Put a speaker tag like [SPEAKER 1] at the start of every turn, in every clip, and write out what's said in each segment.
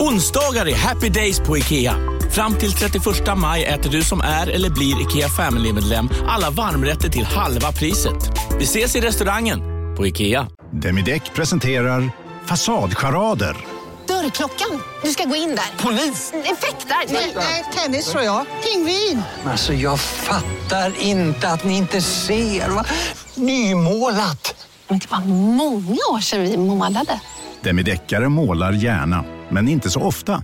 [SPEAKER 1] Onsdagar är happy days på IKEA. Fram till 31 maj äter du som är eller blir IKEA Family-medlem alla varmrätter till halva priset. Vi ses i restaurangen på IKEA.
[SPEAKER 2] Demideck presenterar Fasadcharader.
[SPEAKER 3] Dörrklockan. Du ska gå in där. Polis? Effektar? Nej, tennis tror jag. Pingvin.
[SPEAKER 4] Alltså jag fattar inte att ni inte ser. Va? Nymålat!
[SPEAKER 3] Men det var många år sedan vi målade.
[SPEAKER 2] Demideckare målar gärna, men inte så ofta.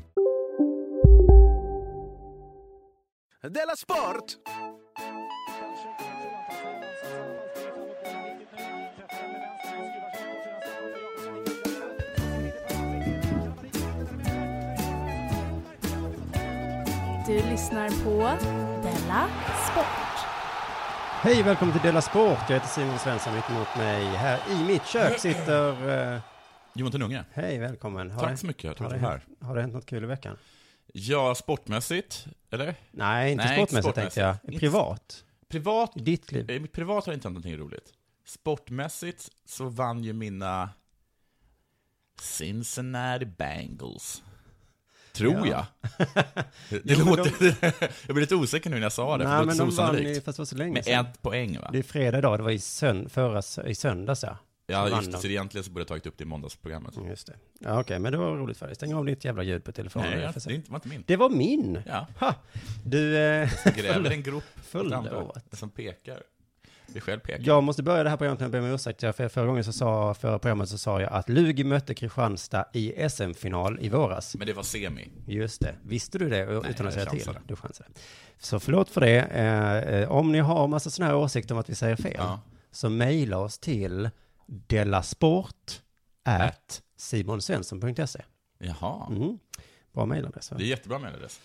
[SPEAKER 5] Du lyssnar på Della Sport.
[SPEAKER 6] Hej välkommen till Della Sport. Jag heter Simon Svensson. Mitt emot mig här i mitt kök sitter... eh,
[SPEAKER 7] Jonathan Unge,
[SPEAKER 6] hej välkommen. Har
[SPEAKER 7] tack
[SPEAKER 6] det-
[SPEAKER 7] så mycket.
[SPEAKER 6] Har
[SPEAKER 7] Tack
[SPEAKER 6] det,
[SPEAKER 7] för det här.
[SPEAKER 6] hänt, har det hänt något kul i veckan?
[SPEAKER 7] Ja, sportmässigt, eller?
[SPEAKER 6] Nej, inte
[SPEAKER 7] Nej, inte
[SPEAKER 6] sportmässigt tänkte jag.
[SPEAKER 7] sportmässigt.
[SPEAKER 6] Privat.
[SPEAKER 7] Privat,
[SPEAKER 6] I ditt liv.
[SPEAKER 7] eh, privat har jag inte hänt någonting roligt. Sportmässigt så vann ju mina Cincinnati Bengals. Tror
[SPEAKER 6] Ja.
[SPEAKER 7] jag. Det
[SPEAKER 6] Jo, men
[SPEAKER 7] låter... jag blir lite osäker nu när jag sa det, för det
[SPEAKER 6] Nej,
[SPEAKER 7] låter
[SPEAKER 6] men
[SPEAKER 7] så
[SPEAKER 6] de vann ju,
[SPEAKER 7] osannolikt.
[SPEAKER 6] fast det var så länge
[SPEAKER 7] Med
[SPEAKER 6] sedan.
[SPEAKER 7] ett poäng, va?
[SPEAKER 6] Det är fredag idag. Det var i, sönd förra, sö- i söndags, ja.
[SPEAKER 7] Ja,
[SPEAKER 6] vann
[SPEAKER 7] just det.
[SPEAKER 6] de. Mm,
[SPEAKER 7] Så egentligen så borde jag tagit upp det i måndagsprogrammet.
[SPEAKER 6] Just det. Ja, Okej, men det var roligt för dig. Stäng av ditt jävla ljud på telefonen.
[SPEAKER 7] Nej,
[SPEAKER 6] nu,
[SPEAKER 7] jag,
[SPEAKER 6] för
[SPEAKER 7] det är inte- var inte min.
[SPEAKER 6] det var min.
[SPEAKER 7] Ja,
[SPEAKER 6] Ha! Du, eh,
[SPEAKER 7] gräver en grop åt
[SPEAKER 6] Förlåt.
[SPEAKER 7] andra som pekar. Vi själv pekar.
[SPEAKER 6] jag måste börja det här programmet med att be om ursäkt. Jag- För förra gången så sa, förra programmet så sa jag att Lugi mötte Kristianstad i SM-final i våras.
[SPEAKER 7] Men det var semi.
[SPEAKER 6] Just det. Visste du det utan
[SPEAKER 7] jag
[SPEAKER 6] att säga till?
[SPEAKER 7] chansade.
[SPEAKER 6] Du chansade. Så förlåt för det. Eh, eh, om ni har massa sådana här åsikter om att vi säger fel,
[SPEAKER 7] Ja.
[SPEAKER 6] så mejla oss till delasport at simonsvensson.se.
[SPEAKER 7] Jaha.
[SPEAKER 6] Mm. Bra mejladress. va?
[SPEAKER 7] Det är jättebra mejladress.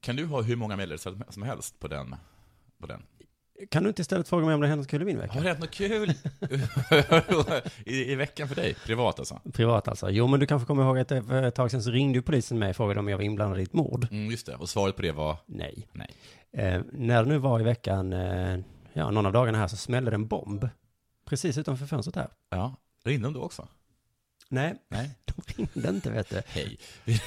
[SPEAKER 7] Kan du ha hur många mejladresser som helst på den? På den?
[SPEAKER 6] Kan du inte istället fråga mig om det händer något kul i min vecka?
[SPEAKER 7] Har det hänt något kul I, i veckan för dig? Privat alltså?
[SPEAKER 6] Privat alltså. Jo, men du kanske kommer ihåg att det för ett tag sedan så ringde ju polisen mig och frågade om jag var inblandad i ett mord.
[SPEAKER 7] Mm, just det. Och svaret på det var?
[SPEAKER 6] Nej.
[SPEAKER 7] Nej.
[SPEAKER 6] Eh, när det nu var i veckan, eh, ja, någon av dagarna här så smällde det en bomb. Precis utanför fönstret här.
[SPEAKER 7] Ja. Ringde de då också?
[SPEAKER 6] Nej,
[SPEAKER 7] Nej.
[SPEAKER 6] de ringde inte vet du.
[SPEAKER 7] Hej. Vi,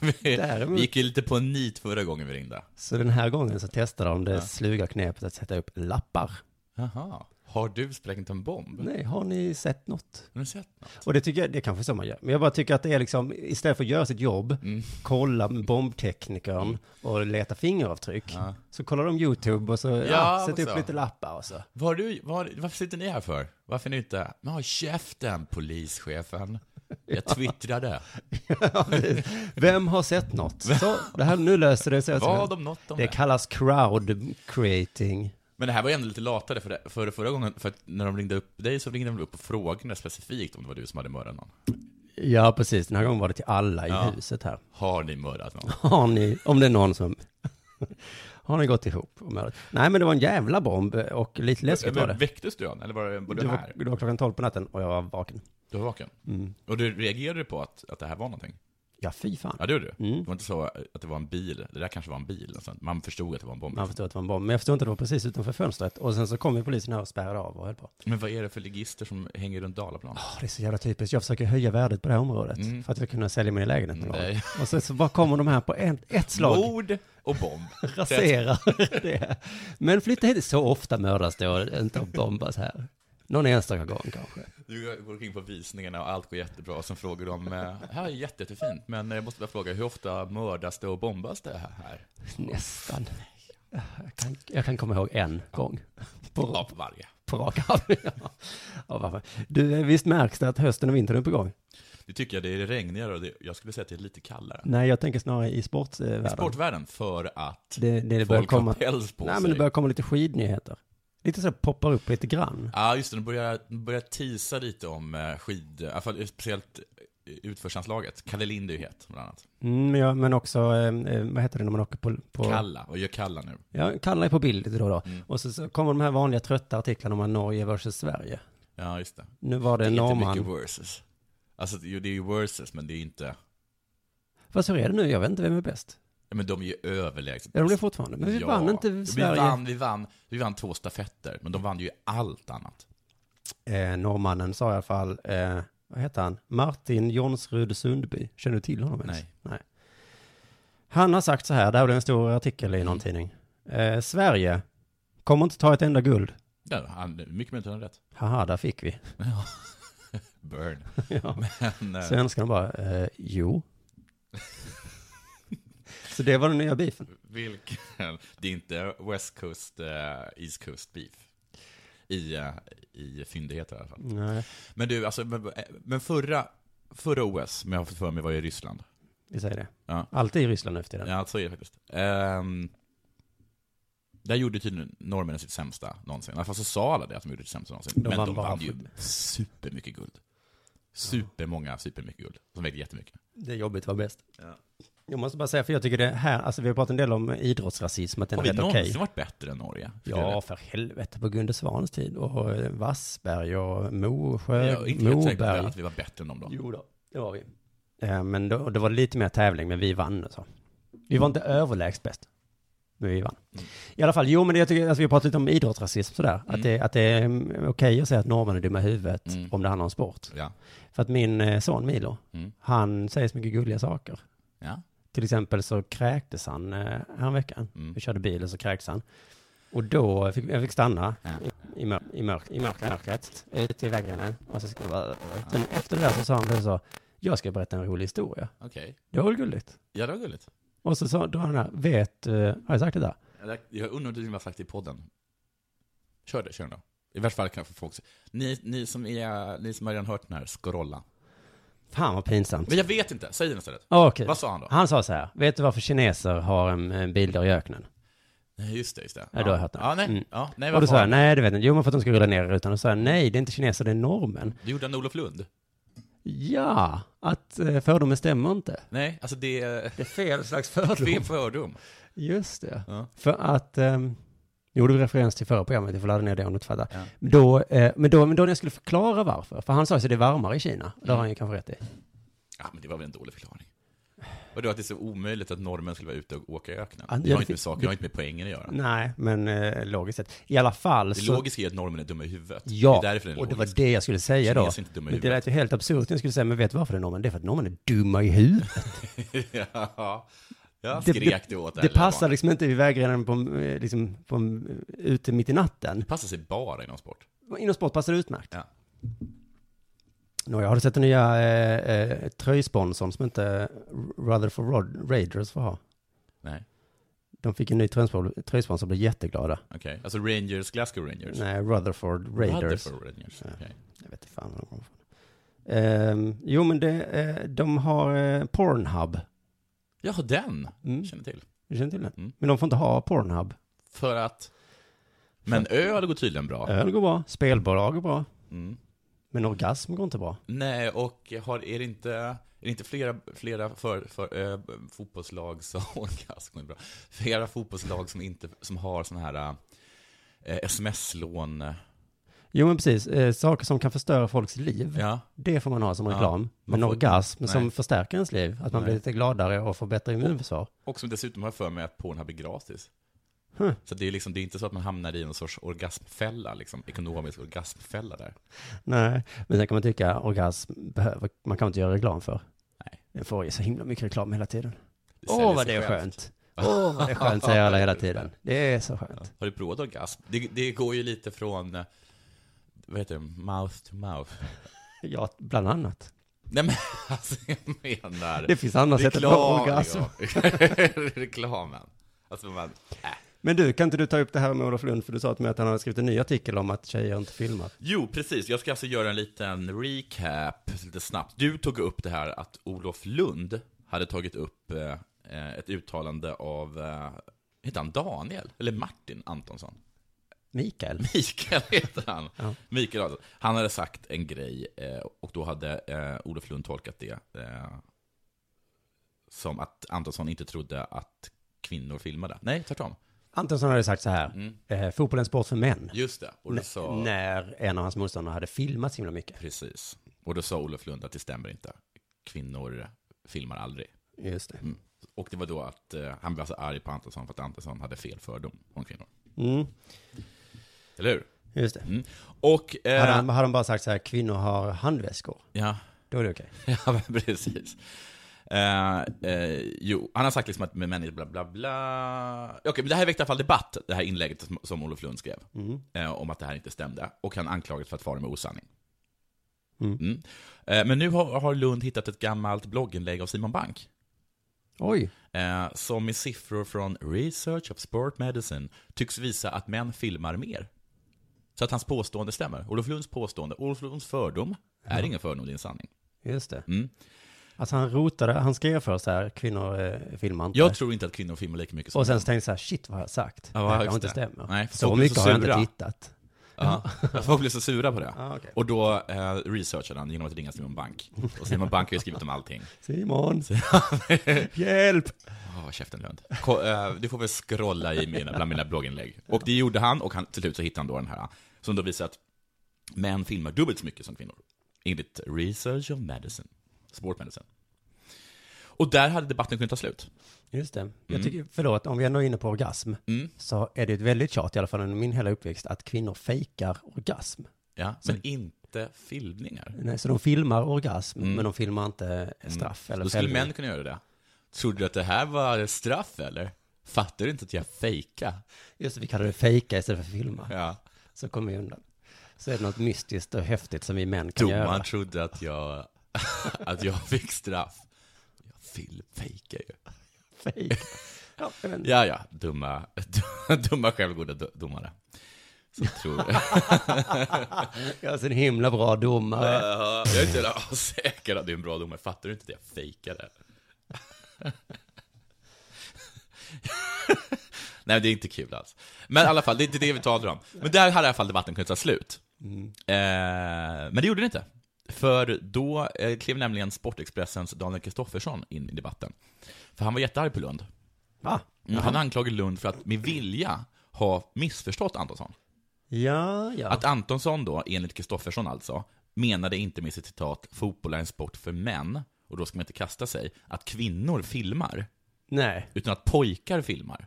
[SPEAKER 7] vi,
[SPEAKER 6] Däremot-
[SPEAKER 7] vi gick ju lite på en nit förra gången vi ringde.
[SPEAKER 6] Så den här gången så testade de det
[SPEAKER 7] Ja.
[SPEAKER 6] sluga knepet att sätta upp lappar.
[SPEAKER 7] Jaha. Har du sprängt en bomb?
[SPEAKER 6] Nej, har ni sett något?
[SPEAKER 7] Har du sett något?
[SPEAKER 6] Och det tycker jag, det är kanske så man gör. Men jag bara tycker att det är liksom, istället för att göra sitt jobb,
[SPEAKER 7] Mm.
[SPEAKER 6] kolla med bombteknikern och leta fingeravtryck,
[SPEAKER 7] Ja.
[SPEAKER 6] så kollar de YouTube och så ja,
[SPEAKER 7] Ja,
[SPEAKER 6] sätter
[SPEAKER 7] men
[SPEAKER 6] upp
[SPEAKER 7] så.
[SPEAKER 6] lite lappar och så.
[SPEAKER 7] Vad har du, vad, har- varför sitter ni här för? Varför är ni inte... Men håll käften, polischefen. Jag twittrade.
[SPEAKER 6] Ja, precis. Vem har sett något? Så, det här, nu löser det sig.
[SPEAKER 7] Vad om något om
[SPEAKER 6] Det kallas crowd creating.
[SPEAKER 7] Men det här var ju ändå lite latare för, det, för förra gången, för att när de ringde upp dig så ringde de väl upp och frågade specifikt om det var du som hade mördat någon.
[SPEAKER 6] Ja, precis. Den här gången var det till alla i
[SPEAKER 7] Ja.
[SPEAKER 6] huset här.
[SPEAKER 7] Har ni mördat någon?
[SPEAKER 6] Har ni, om det är någon som... Har ni gått ihop och mördat? Nej, men det var en jävla bomb och lite läskigt var
[SPEAKER 7] Men,
[SPEAKER 6] det.
[SPEAKER 7] väcktes du än, eller var det var
[SPEAKER 6] Det
[SPEAKER 7] du
[SPEAKER 6] var,
[SPEAKER 7] här?
[SPEAKER 6] det var klockan tolv på natten och jag var vaken.
[SPEAKER 7] Du var vaken?
[SPEAKER 6] Mm.
[SPEAKER 7] Och du reagerade du på att, att det här var någonting?
[SPEAKER 6] Ja, fy fan.
[SPEAKER 7] Ja, det gjorde du?
[SPEAKER 6] Mm.
[SPEAKER 7] Det var inte så att det var en bil, det där kanske var en bil, alltså. man förstod att det var en bomb.
[SPEAKER 6] Man förstod att det var en bomb, men jag förstod inte att det var precis utanför fönstret. Och sen så kom ju polisen här och spärrade av och höll på.
[SPEAKER 7] Men vad är det för ligister som hänger runt Dalaplan?
[SPEAKER 6] Åh, det är så jävla typiskt. Jag försöker höja värdet på det här området
[SPEAKER 7] Mm.
[SPEAKER 6] för att jag ska kunna sälja min lägenhet någon gång.
[SPEAKER 7] Nej.
[SPEAKER 6] Och sen så bara kommer de här på en, ett slag.
[SPEAKER 7] Mord och bomb.
[SPEAKER 6] raserar det. Men flytta hit, så ofta mördas det och inte bombas här. Någon enstaka gång kanske.
[SPEAKER 7] Du går omkring på visningarna och allt går jättebra, och sen frågar de, eh, här är jätte, jättefint, men eh, jag måste bara fråga, hur ofta mördas det och bombas det här?
[SPEAKER 6] Nästan. Jag kan, jag kan komma ihåg en gång. På,
[SPEAKER 7] Ja, på varje.
[SPEAKER 6] på rak arm. Ja. Ja, varför? Du, eh, visst märks det att hösten och vintern är på gång?
[SPEAKER 7] Det tycker jag, det är regnigare och det, jag skulle säga att det är lite kallare.
[SPEAKER 6] Nej, jag tänker snarare i sportvärlden.
[SPEAKER 7] I sportvärlden, för att
[SPEAKER 6] Det, det, det börjar
[SPEAKER 7] folk
[SPEAKER 6] komma...
[SPEAKER 7] har päls på
[SPEAKER 6] Nej,
[SPEAKER 7] sig.
[SPEAKER 6] men det börjar komma lite skidnyheter. Lite så här poppar upp lite grann.
[SPEAKER 7] Ja, just det, de börjar, de börjar tisa lite om eh, skid, i alla fall speciellt eh,
[SPEAKER 8] utförsanslaget. Kalle Lind är ju het, bland annat.
[SPEAKER 6] Mm, men ja, men också, eh, eh, vad heter det när man åker på... på
[SPEAKER 8] Kalla, och gör Kalla nu. Mm.
[SPEAKER 6] Ja, Kalla är på bild lite då och då. Och så, så kommer de här vanliga trötta artiklarna om Norge versus Sverige.
[SPEAKER 8] Ja, just det.
[SPEAKER 6] Nu var det,
[SPEAKER 8] det är
[SPEAKER 6] en
[SPEAKER 8] inte
[SPEAKER 6] norrman.
[SPEAKER 8] mycket versus. Alltså, jo, det är ju versus, men det är ju inte...
[SPEAKER 6] Fast hur är det nu? Jag vet inte vem är bäst.
[SPEAKER 8] Ja, men de är ju överlägset
[SPEAKER 6] Är de det fortfarande? Men vi
[SPEAKER 8] Ja.
[SPEAKER 6] vann inte
[SPEAKER 8] Vi
[SPEAKER 6] Sverige.
[SPEAKER 8] vann, vi, vann, vi vann två stafetter, men de vann ju allt annat.
[SPEAKER 6] Eh, norrmannen sa i alla fall, eh, vad heter han? Martin Jonsrud Sundby. Känner du till honom ens?
[SPEAKER 8] Nej.
[SPEAKER 6] Nej. Han har sagt så här, det här blev en stor artikel
[SPEAKER 8] Mm.
[SPEAKER 6] i någon tidning. Eh, Sverige kommer inte ta ett enda guld.
[SPEAKER 8] Ja, han, mycket möjligt har han rätt.
[SPEAKER 6] Haha, där fick vi.
[SPEAKER 8] Ja. Burn.
[SPEAKER 6] Ja.
[SPEAKER 8] Men, eh,
[SPEAKER 6] Svenskarna bara, eh, jo. så det var den nya beefen.
[SPEAKER 8] Vilken? Det är inte West Coast, eh, East Coast beef. I, eh, i fyndigheter i alla fall.
[SPEAKER 6] Nej.
[SPEAKER 8] Men du, alltså, men, eh, men förra, förra OS, men jag har fått för mig, var i Ryssland.
[SPEAKER 6] Vi säger det.
[SPEAKER 8] Ja.
[SPEAKER 6] Alltid i Ryssland nu för tiden.
[SPEAKER 8] Ja, så är det faktiskt. Ehm, där gjorde tydligen norrmännen sitt sämsta någonsin. I alla fall så sa alla det, att de gjorde sitt sämsta någonsin.
[SPEAKER 6] De
[SPEAKER 8] men
[SPEAKER 6] vann
[SPEAKER 8] de
[SPEAKER 6] bara
[SPEAKER 8] vann ju
[SPEAKER 6] för-
[SPEAKER 8] supermycket guld. Supermånga, supermycket guld. Som vägde jättemycket.
[SPEAKER 6] Det är jobbigt var bäst. Jag måste bara säga, för jag tycker det här, alltså vi har pratat en del om idrottsrasism, att den
[SPEAKER 8] Har
[SPEAKER 6] är
[SPEAKER 8] vi
[SPEAKER 6] rätt
[SPEAKER 8] någonsin
[SPEAKER 6] okej.
[SPEAKER 8] varit bättre än Norge?
[SPEAKER 6] Ja, för helvete, på Gunde Svans tid och eh, Wassberg och Mosjö,
[SPEAKER 8] Jag är inte helt säker på
[SPEAKER 6] Moberg.
[SPEAKER 8] att vi var bättre än dem då.
[SPEAKER 6] Jo då, det var vi. Eh, Men då, det var lite mer tävling, men vi vann så. Vi var inte överlägset bäst, men vi vann. I alla fall, jo men det, jag tycker, alltså, vi har pratat lite om idrottsrasism sådär, att, det, att det är mm, okej att säga att norrmän är dumma i huvudet
[SPEAKER 8] Mm.
[SPEAKER 6] om det handlar om sport.
[SPEAKER 8] Ja.
[SPEAKER 6] För att min eh, son Milo,
[SPEAKER 8] Mm.
[SPEAKER 6] han säger så mycket gulliga saker.
[SPEAKER 8] Ja.
[SPEAKER 6] Till exempel så kräktes han eh, häromveckan.
[SPEAKER 8] Mm.
[SPEAKER 6] Vi körde bil och så kräktes han. Och då fick jag fick stanna
[SPEAKER 8] Ja.
[SPEAKER 6] i, i, mörk, i, mörk, i mörk- mörkret, ute i väggarna. Och så skulle jag bara... Sen efter det där så sa han plötsligt så, jag ska berätta en rolig historia.
[SPEAKER 8] Okej.
[SPEAKER 6] Det var väl gulligt?
[SPEAKER 8] Ja, det var gulligt.
[SPEAKER 6] Och så sa då han här, vet, eh, har jag sagt det där?
[SPEAKER 8] Eller, Jag undrar om du har sagt det i podden. Kör det, kör den då. I värsta fall kan folk se. Ni, ni, som är, ni som har redan hört den här, scrolla.
[SPEAKER 6] Fan vad pinsamt.
[SPEAKER 8] Men jag vet inte, säg den istället.
[SPEAKER 6] Okej.
[SPEAKER 8] Vad sa han då?
[SPEAKER 6] Han sa så här, vet du varför kineser har en, en bilder i öknen?
[SPEAKER 8] Nej, just det, just det.
[SPEAKER 6] Ja, då har jag hört det.
[SPEAKER 8] Ja, nej.
[SPEAKER 6] Mm.
[SPEAKER 8] Ja, nej
[SPEAKER 6] och då
[SPEAKER 8] vad
[SPEAKER 6] sa jag,
[SPEAKER 8] fan.
[SPEAKER 6] nej det vet jag inte. Jo men för att de ska rulla ner i rutan. Och sa jag, nej det är inte kineser, det är norrmän.
[SPEAKER 8] Du gjorde en Olof Lund?
[SPEAKER 6] Ja, att eh, fördomen stämmer inte.
[SPEAKER 8] Nej, alltså det är...
[SPEAKER 6] Det är fel slags fördom.
[SPEAKER 8] Det är en fördom.
[SPEAKER 6] Just det.
[SPEAKER 8] Ja.
[SPEAKER 6] För att, ehm, jo det var referens till förra programmet, jag får ladda ner det om du inte fattar.
[SPEAKER 8] Ja.
[SPEAKER 6] Då, eh, men, då, men då när jag skulle förklara varför, för han sa ju att det är varmare i Kina, det har han ju kanske rätt i.
[SPEAKER 8] Ja, men det var väl en dålig förklaring. Och då att det är så omöjligt att norrmän skulle vara ute och åka i öknen.
[SPEAKER 6] Ja, det-
[SPEAKER 8] Det har inte med saker, det har inte med poängen att göra.
[SPEAKER 6] Nej, men eh, logiskt sett. I alla fall
[SPEAKER 8] Det
[SPEAKER 6] så...
[SPEAKER 8] logiska är att norrmän är dumma i huvudet.
[SPEAKER 6] Ja,
[SPEAKER 8] det är därför den är
[SPEAKER 6] och det var
[SPEAKER 8] logisk.
[SPEAKER 6] det jag skulle säga då.
[SPEAKER 8] Kineser är inte dumma i
[SPEAKER 6] Men det lät ju helt absurt när jag skulle säga, men vet du varför det är norrmän? Det är för att norrmän är dumma i huvudet.
[SPEAKER 8] ja, jag
[SPEAKER 6] Det-
[SPEAKER 8] skrek det åt
[SPEAKER 6] Det,
[SPEAKER 8] det lilla
[SPEAKER 6] passar
[SPEAKER 8] barnet.
[SPEAKER 6] liksom inte vid vägrenen på, en, eh, liksom, på, en- ute mitt i natten.
[SPEAKER 8] Det passar sig bara inom sport.
[SPEAKER 6] Inom sport passar det utmärkt.
[SPEAKER 8] Ja.
[SPEAKER 6] Nåja, har du sett den nya eh, eh, tröjsponsorn som inte Rutherford Rod Raiders får ha?
[SPEAKER 8] Nej,
[SPEAKER 6] De fick en ny tröjsponsor tröjsponsor och blev jätteglada.
[SPEAKER 8] okej. Alltså Rangers, Glasgow Rangers.
[SPEAKER 6] Nej, Rutherford Raiders.
[SPEAKER 8] Rutherford Rangers.
[SPEAKER 6] Ja.
[SPEAKER 8] okej.
[SPEAKER 6] Jag vet inte fan vad de kommer från. Ehm, jo, men det, eh, de har eh, Pornhub.
[SPEAKER 8] Ja, den
[SPEAKER 6] Mm.
[SPEAKER 8] känner till.
[SPEAKER 6] Du känner till den?
[SPEAKER 8] Mm.
[SPEAKER 6] Men de får inte ha Pornhub.
[SPEAKER 8] För att... Men öl går tydligen bra.
[SPEAKER 6] Öl går bra, spelbolag går bra,
[SPEAKER 8] Mm.
[SPEAKER 6] men orgasm går inte bra.
[SPEAKER 8] Nej, och har, är det inte, är det inte flera, flera för, för, eh, fotbollslag som... Orgasm är bra. Flera fotbollslag som, inte, som har såna här eh, sms-lån.
[SPEAKER 6] Jo, men precis. Eh, saker som kan förstöra folks liv.
[SPEAKER 8] Ja,
[SPEAKER 6] Det får man ha som
[SPEAKER 8] Ja.
[SPEAKER 6] reklam.
[SPEAKER 8] Man
[SPEAKER 6] Men
[SPEAKER 8] får-
[SPEAKER 6] orgasm
[SPEAKER 8] Nej.
[SPEAKER 6] som förstärker ens liv. Att man
[SPEAKER 8] Nej.
[SPEAKER 6] blir lite gladare och får bättre immunförsvar.
[SPEAKER 8] och som dessutom har jag för mig att Pornhub är gratis.
[SPEAKER 6] Huh.
[SPEAKER 8] Så det är, liksom, det är inte så att man hamnar i någon sorts orgasmfälla, liksom, ekonomisk orgasmfälla där.
[SPEAKER 6] Nej, men sen kan man tycka orgasm behöver, man kan inte göra reklam för.
[SPEAKER 8] Nej.
[SPEAKER 6] Den får ju så himla mycket reklam hela tiden.
[SPEAKER 8] Det
[SPEAKER 6] Åh,
[SPEAKER 8] säljer sig
[SPEAKER 6] vad det är
[SPEAKER 8] självt.
[SPEAKER 6] skönt. Åh, vad det är skönt, säger alla hela tiden. Det är så skönt.
[SPEAKER 8] Har du provat orgasm? Det, det går ju lite från, eh, vad heter det, mouth to mouth.
[SPEAKER 6] Ja, bland annat.
[SPEAKER 8] Nej men alltså jag menar...
[SPEAKER 6] Det finns andra sätt att få orgasm.
[SPEAKER 8] ja. Reklamen. Alltså man,
[SPEAKER 6] Men du, kan inte du ta upp det här med Olof Lund? För du sa till mig att han hade skrivit en ny artikel om att tjejer inte filmar.
[SPEAKER 8] Jo, precis. Jag ska alltså göra en liten recap lite snabbt. Du tog upp det här att Olof Lund hade tagit upp eh, eh, ett uttalande av, eh, heter han Daniel? Eller Martin Antonsson?
[SPEAKER 9] Mikael.
[SPEAKER 6] Mikael heter han. Mikael Adolfsson. Han hade sagt en grej eh, och då hade eh, Olof Lund tolkat det eh, som att Antonsson inte trodde att kvinnor filmade. Nej, tvärtom.
[SPEAKER 9] Antonsson hade sagt så här, eh, fotboll är en sport för män.
[SPEAKER 6] Mm. Just det. Och då
[SPEAKER 9] N-
[SPEAKER 6] sa,
[SPEAKER 9] När en av hans motståndare hade filmat så himla mycket.
[SPEAKER 6] Precis. Och då sa Olof Lund att det stämmer inte. Kvinnor filmar aldrig.
[SPEAKER 9] Just det.
[SPEAKER 6] Mm. Och det var då att eh, han blev så arg på Antonsson för att Antonsson hade fel fördom om kvinnor.
[SPEAKER 9] Mm,
[SPEAKER 6] Eller hur?
[SPEAKER 9] just det.
[SPEAKER 6] Mm. Och... eh,
[SPEAKER 9] Hade, han, hade han bara sagt så här, kvinnor har handväskor.
[SPEAKER 6] Ja.
[SPEAKER 9] Då är det okej.
[SPEAKER 6] Ja, men precis. Eh, eh, jo, han har sagt liksom att med människor bla bla bla. Okej, men det här väckte i alla fall debatt, det här inlägget som, som Olof Lund skrev. eh, om att det här inte stämde. Och han anklagades för att fara med osanning.
[SPEAKER 9] Mm.
[SPEAKER 6] Eh, men nu har, har Lund hittat ett gammalt blogginlägg av Simon Bank.
[SPEAKER 9] Oj.
[SPEAKER 6] Eh, som i siffror från Research of Sport Medicine tycks visa att män filmar mer. Så att hans påstående stämmer. Olof Lunds påstående, Olof Lunds fördom, är ingen fördom, det är en sanning.
[SPEAKER 9] Just det.
[SPEAKER 6] Mm.
[SPEAKER 9] Alltså han rotade, han skrev först så här, kvinnor eh, filmar inte.
[SPEAKER 6] Jag tror inte att kvinnor filmar lika mycket som
[SPEAKER 9] och sen så tänkte jag så här, shit vad har jag sagt?
[SPEAKER 6] Ja,
[SPEAKER 9] det
[SPEAKER 6] just
[SPEAKER 9] kanske inte
[SPEAKER 6] det.
[SPEAKER 9] stämmer.
[SPEAKER 6] Nej, för
[SPEAKER 9] så
[SPEAKER 6] folk blir
[SPEAKER 9] mycket
[SPEAKER 6] så
[SPEAKER 9] har jag inte
[SPEAKER 6] sura.
[SPEAKER 9] tittat.
[SPEAKER 6] Ja, folk blev så sura på det.
[SPEAKER 9] Ah, okej.
[SPEAKER 6] Och då eh, researchade han genom att ringa Simon Bank. Och Simon Bank har ju skrivit om allting.
[SPEAKER 9] Simon, hjälp!
[SPEAKER 6] Åh, käften Lund. Ko- eh, du får väl scrolla i mina, bland mina blogginlägg. Och det gjorde han, och han, till slut så hittade han då den här, som då visar att män filmar dubbelt så mycket som kvinnor. Enligt Research of Medicine, Sport Medicine. Och där hade debatten kunnat ta slut. Mm.
[SPEAKER 9] Just det. Jag tycker, förlåt, om vi ändå är inne på orgasm, så är det ett väldigt tjat, i alla fall under min hela uppväxt, att kvinnor fejkar orgasm.
[SPEAKER 6] Ja, men inte filmningar. Mm.
[SPEAKER 9] Nej, så de filmar orgasm, men de filmar inte straff eller
[SPEAKER 6] Då skulle
[SPEAKER 9] fällning.
[SPEAKER 6] män kunna göra det. Trodde du att det här var straff eller? Fattar du inte att jag fejkar?
[SPEAKER 9] Just det, vi kallar det fejka istället för filma.
[SPEAKER 6] Ja.
[SPEAKER 9] Så kommer vi undan. Så är det något mystiskt och häftigt som vi män kan
[SPEAKER 6] Domaren
[SPEAKER 9] göra.
[SPEAKER 6] trodde att jag, att jag fick straff. Jag fil- fejkar ju.
[SPEAKER 9] Fejk. Ja, men,
[SPEAKER 6] Ja, ja, dumma, dumma självgoda do- domare. Som tror...
[SPEAKER 9] Jag är så en himla bra domare.
[SPEAKER 6] jag är inte jävla säker att du är en bra domare. Fattar du inte att jag fejkade? Nej, det är inte kul alls. Men i alla fall, det är inte det vi talar om. Men där hade i alla fall debatten kunnat ta slut. Eh, men det gjorde den inte. För då eh, klev nämligen Sportexpressens Daniel Kristoffersson in i debatten. För han var jättearg på Lund.
[SPEAKER 9] Va?
[SPEAKER 6] Mm, han anklagade Lund för att med vilja ha missförstått Antonsson.
[SPEAKER 9] Ja, ja.
[SPEAKER 6] Att Antonsson då, enligt Kristoffersson alltså, menade inte med sitt citat ”fotboll är en sport för män” och då ska man inte kasta sig, att kvinnor filmar,
[SPEAKER 9] Nej.
[SPEAKER 6] utan att pojkar filmar.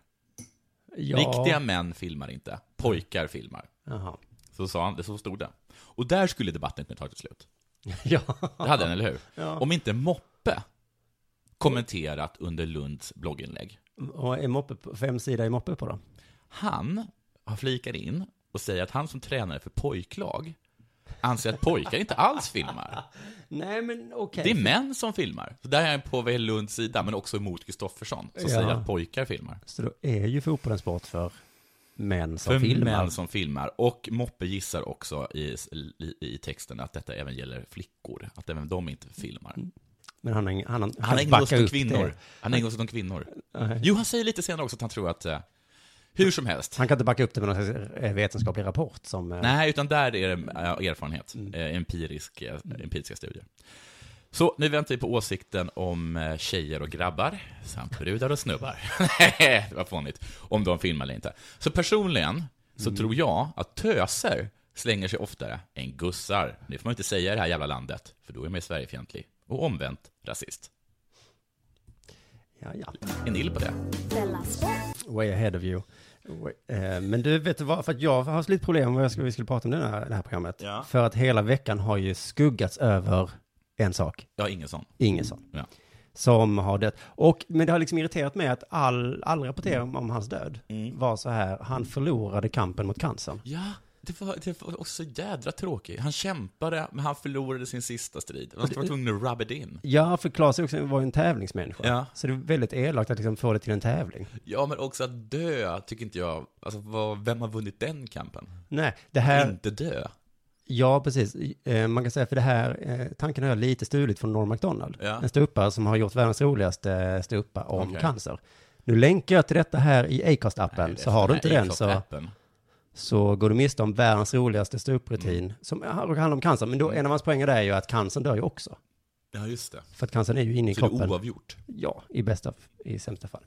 [SPEAKER 9] Ja.
[SPEAKER 6] Riktiga män filmar inte, pojkar filmar.
[SPEAKER 9] Jaha.
[SPEAKER 6] Så sa han, det så stod det. Och där skulle debatten kunna ta till slut.
[SPEAKER 9] Ja.
[SPEAKER 6] Det hade den, eller hur?
[SPEAKER 9] Ja.
[SPEAKER 6] Om inte Moppe kommenterat under Lunds blogginlägg.
[SPEAKER 9] Och är moppe på, fem sida är moppe på då?
[SPEAKER 6] Han har flikat in och säger att han som tränare för pojklag anser att pojkar inte alls filmar.
[SPEAKER 9] Nej, men okej.
[SPEAKER 6] Det är män som filmar. Så där är jag på VL Lunds sida, men också emot Kristoffersson, som
[SPEAKER 9] Ja.
[SPEAKER 6] säger att pojkar filmar.
[SPEAKER 9] Så då är ju fotboll en sport för män som
[SPEAKER 6] För
[SPEAKER 9] filmar.
[SPEAKER 6] män som filmar. Och Moppe gissar också i, i, i texten att detta även gäller flickor, att även de inte filmar.
[SPEAKER 9] Mm. Men han, har ingen- han, han,
[SPEAKER 6] Han
[SPEAKER 9] kan
[SPEAKER 6] ägnar
[SPEAKER 9] backa
[SPEAKER 6] sig åt
[SPEAKER 9] upp
[SPEAKER 6] kvinnor.
[SPEAKER 9] det.
[SPEAKER 6] Han ägnar sig åt kvinnor. Jo, han säger lite senare också att han tror att, eh, hur som helst,
[SPEAKER 9] Han kan inte backa upp det med någon slags eh, vetenskaplig rapport som... eh, Mm.
[SPEAKER 6] Nej, utan där är det eh, erfarenhet, eh, empirisk, eh, empiriska studier. Så nu väntar vi på åsikten om eh, tjejer och grabbar, samt brudar och snubbar. Nej, det var fånigt. Om de filmar eller inte. Så personligen så
[SPEAKER 9] Mm.
[SPEAKER 6] tror jag att töser slänger sig oftare än gussar. Det får man inte säga i det här jävla landet, för då är man ju Sverigefientlig. Och omvänt rasist.
[SPEAKER 9] Ja, ja.
[SPEAKER 6] En ill på det.
[SPEAKER 10] Della Sport.
[SPEAKER 9] Way ahead of you. Way- eh, Men du, vet du vad? För att jag har haft lite problem med vad jag skulle, vi skulle prata om det här, det här programmet.
[SPEAKER 6] Ja.
[SPEAKER 9] För att hela veckan har ju skuggats över en sak.
[SPEAKER 6] Jag har ingen sån.
[SPEAKER 9] Ingesson.
[SPEAKER 6] Ja.
[SPEAKER 9] Som har dött. Och, men det har liksom irriterat mig att all, all rapportering
[SPEAKER 6] Mm.
[SPEAKER 9] om, om hans död var så här, han förlorade kampen mot cancern.
[SPEAKER 6] Ja, det var, det var också jädra tråkigt. Han kämpade, men han förlorade sin sista strid. Han var tvungen att rub it in.
[SPEAKER 9] Ja, för Claes är också var ju en tävlingsmänniska.
[SPEAKER 6] Ja.
[SPEAKER 9] Så det är väldigt elakt att liksom få det till en tävling.
[SPEAKER 6] Ja, men också att dö tycker inte jag, alltså vad, vem har vunnit den kampen?
[SPEAKER 9] Nej, det här...
[SPEAKER 6] Inte dö.
[SPEAKER 9] Ja, precis. Eh, Man kan säga, för det här, eh, tanken har jag lite stulit från Norm MacDonald.
[SPEAKER 6] Ja.
[SPEAKER 9] En ståuppare som har gjort världens
[SPEAKER 6] eh,
[SPEAKER 9] roligaste ståuppa om
[SPEAKER 6] Okej.
[SPEAKER 9] cancer. Nu länkar jag till detta här i Acast-appen, så har du inte den så,
[SPEAKER 6] Appen. så går du miste om världens roligaste ståupprutin
[SPEAKER 8] Mm.
[SPEAKER 6] som handlar om cancer. Men då, en av hans poänger där är ju att cancern dör ju också.
[SPEAKER 8] Ja, just det.
[SPEAKER 6] För att cancern är ju inne i
[SPEAKER 8] Så det är
[SPEAKER 6] kroppen.
[SPEAKER 8] oavgjort?
[SPEAKER 6] Ja, i bästa, i sämsta fall.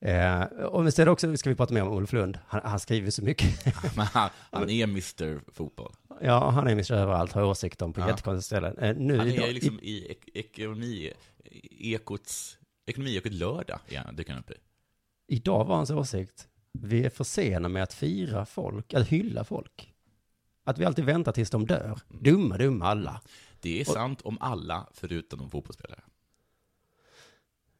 [SPEAKER 6] Eh, och men sen också ska vi prata mer om Olof Lund. Han, han skriver så mycket.
[SPEAKER 8] Men han, han är Mr Fotboll.
[SPEAKER 6] ja, han är Mr. Överallt, har åsikter om på
[SPEAKER 8] Ja.
[SPEAKER 6] jättekonstiga ställen. Eh, nu
[SPEAKER 8] han är
[SPEAKER 6] idag-
[SPEAKER 8] ju liksom i ek- ekonomi, ekots, ekonomiekot lördag, ja, dyker han upp i.
[SPEAKER 6] Idag var hans åsikt, vi är för sena med att fira folk, att hylla folk. Att vi alltid väntar tills de dör. Dumma, dumma alla.
[SPEAKER 8] Mm. Det är
[SPEAKER 6] Och-
[SPEAKER 8] sant om alla förutom de fotbollsspelare.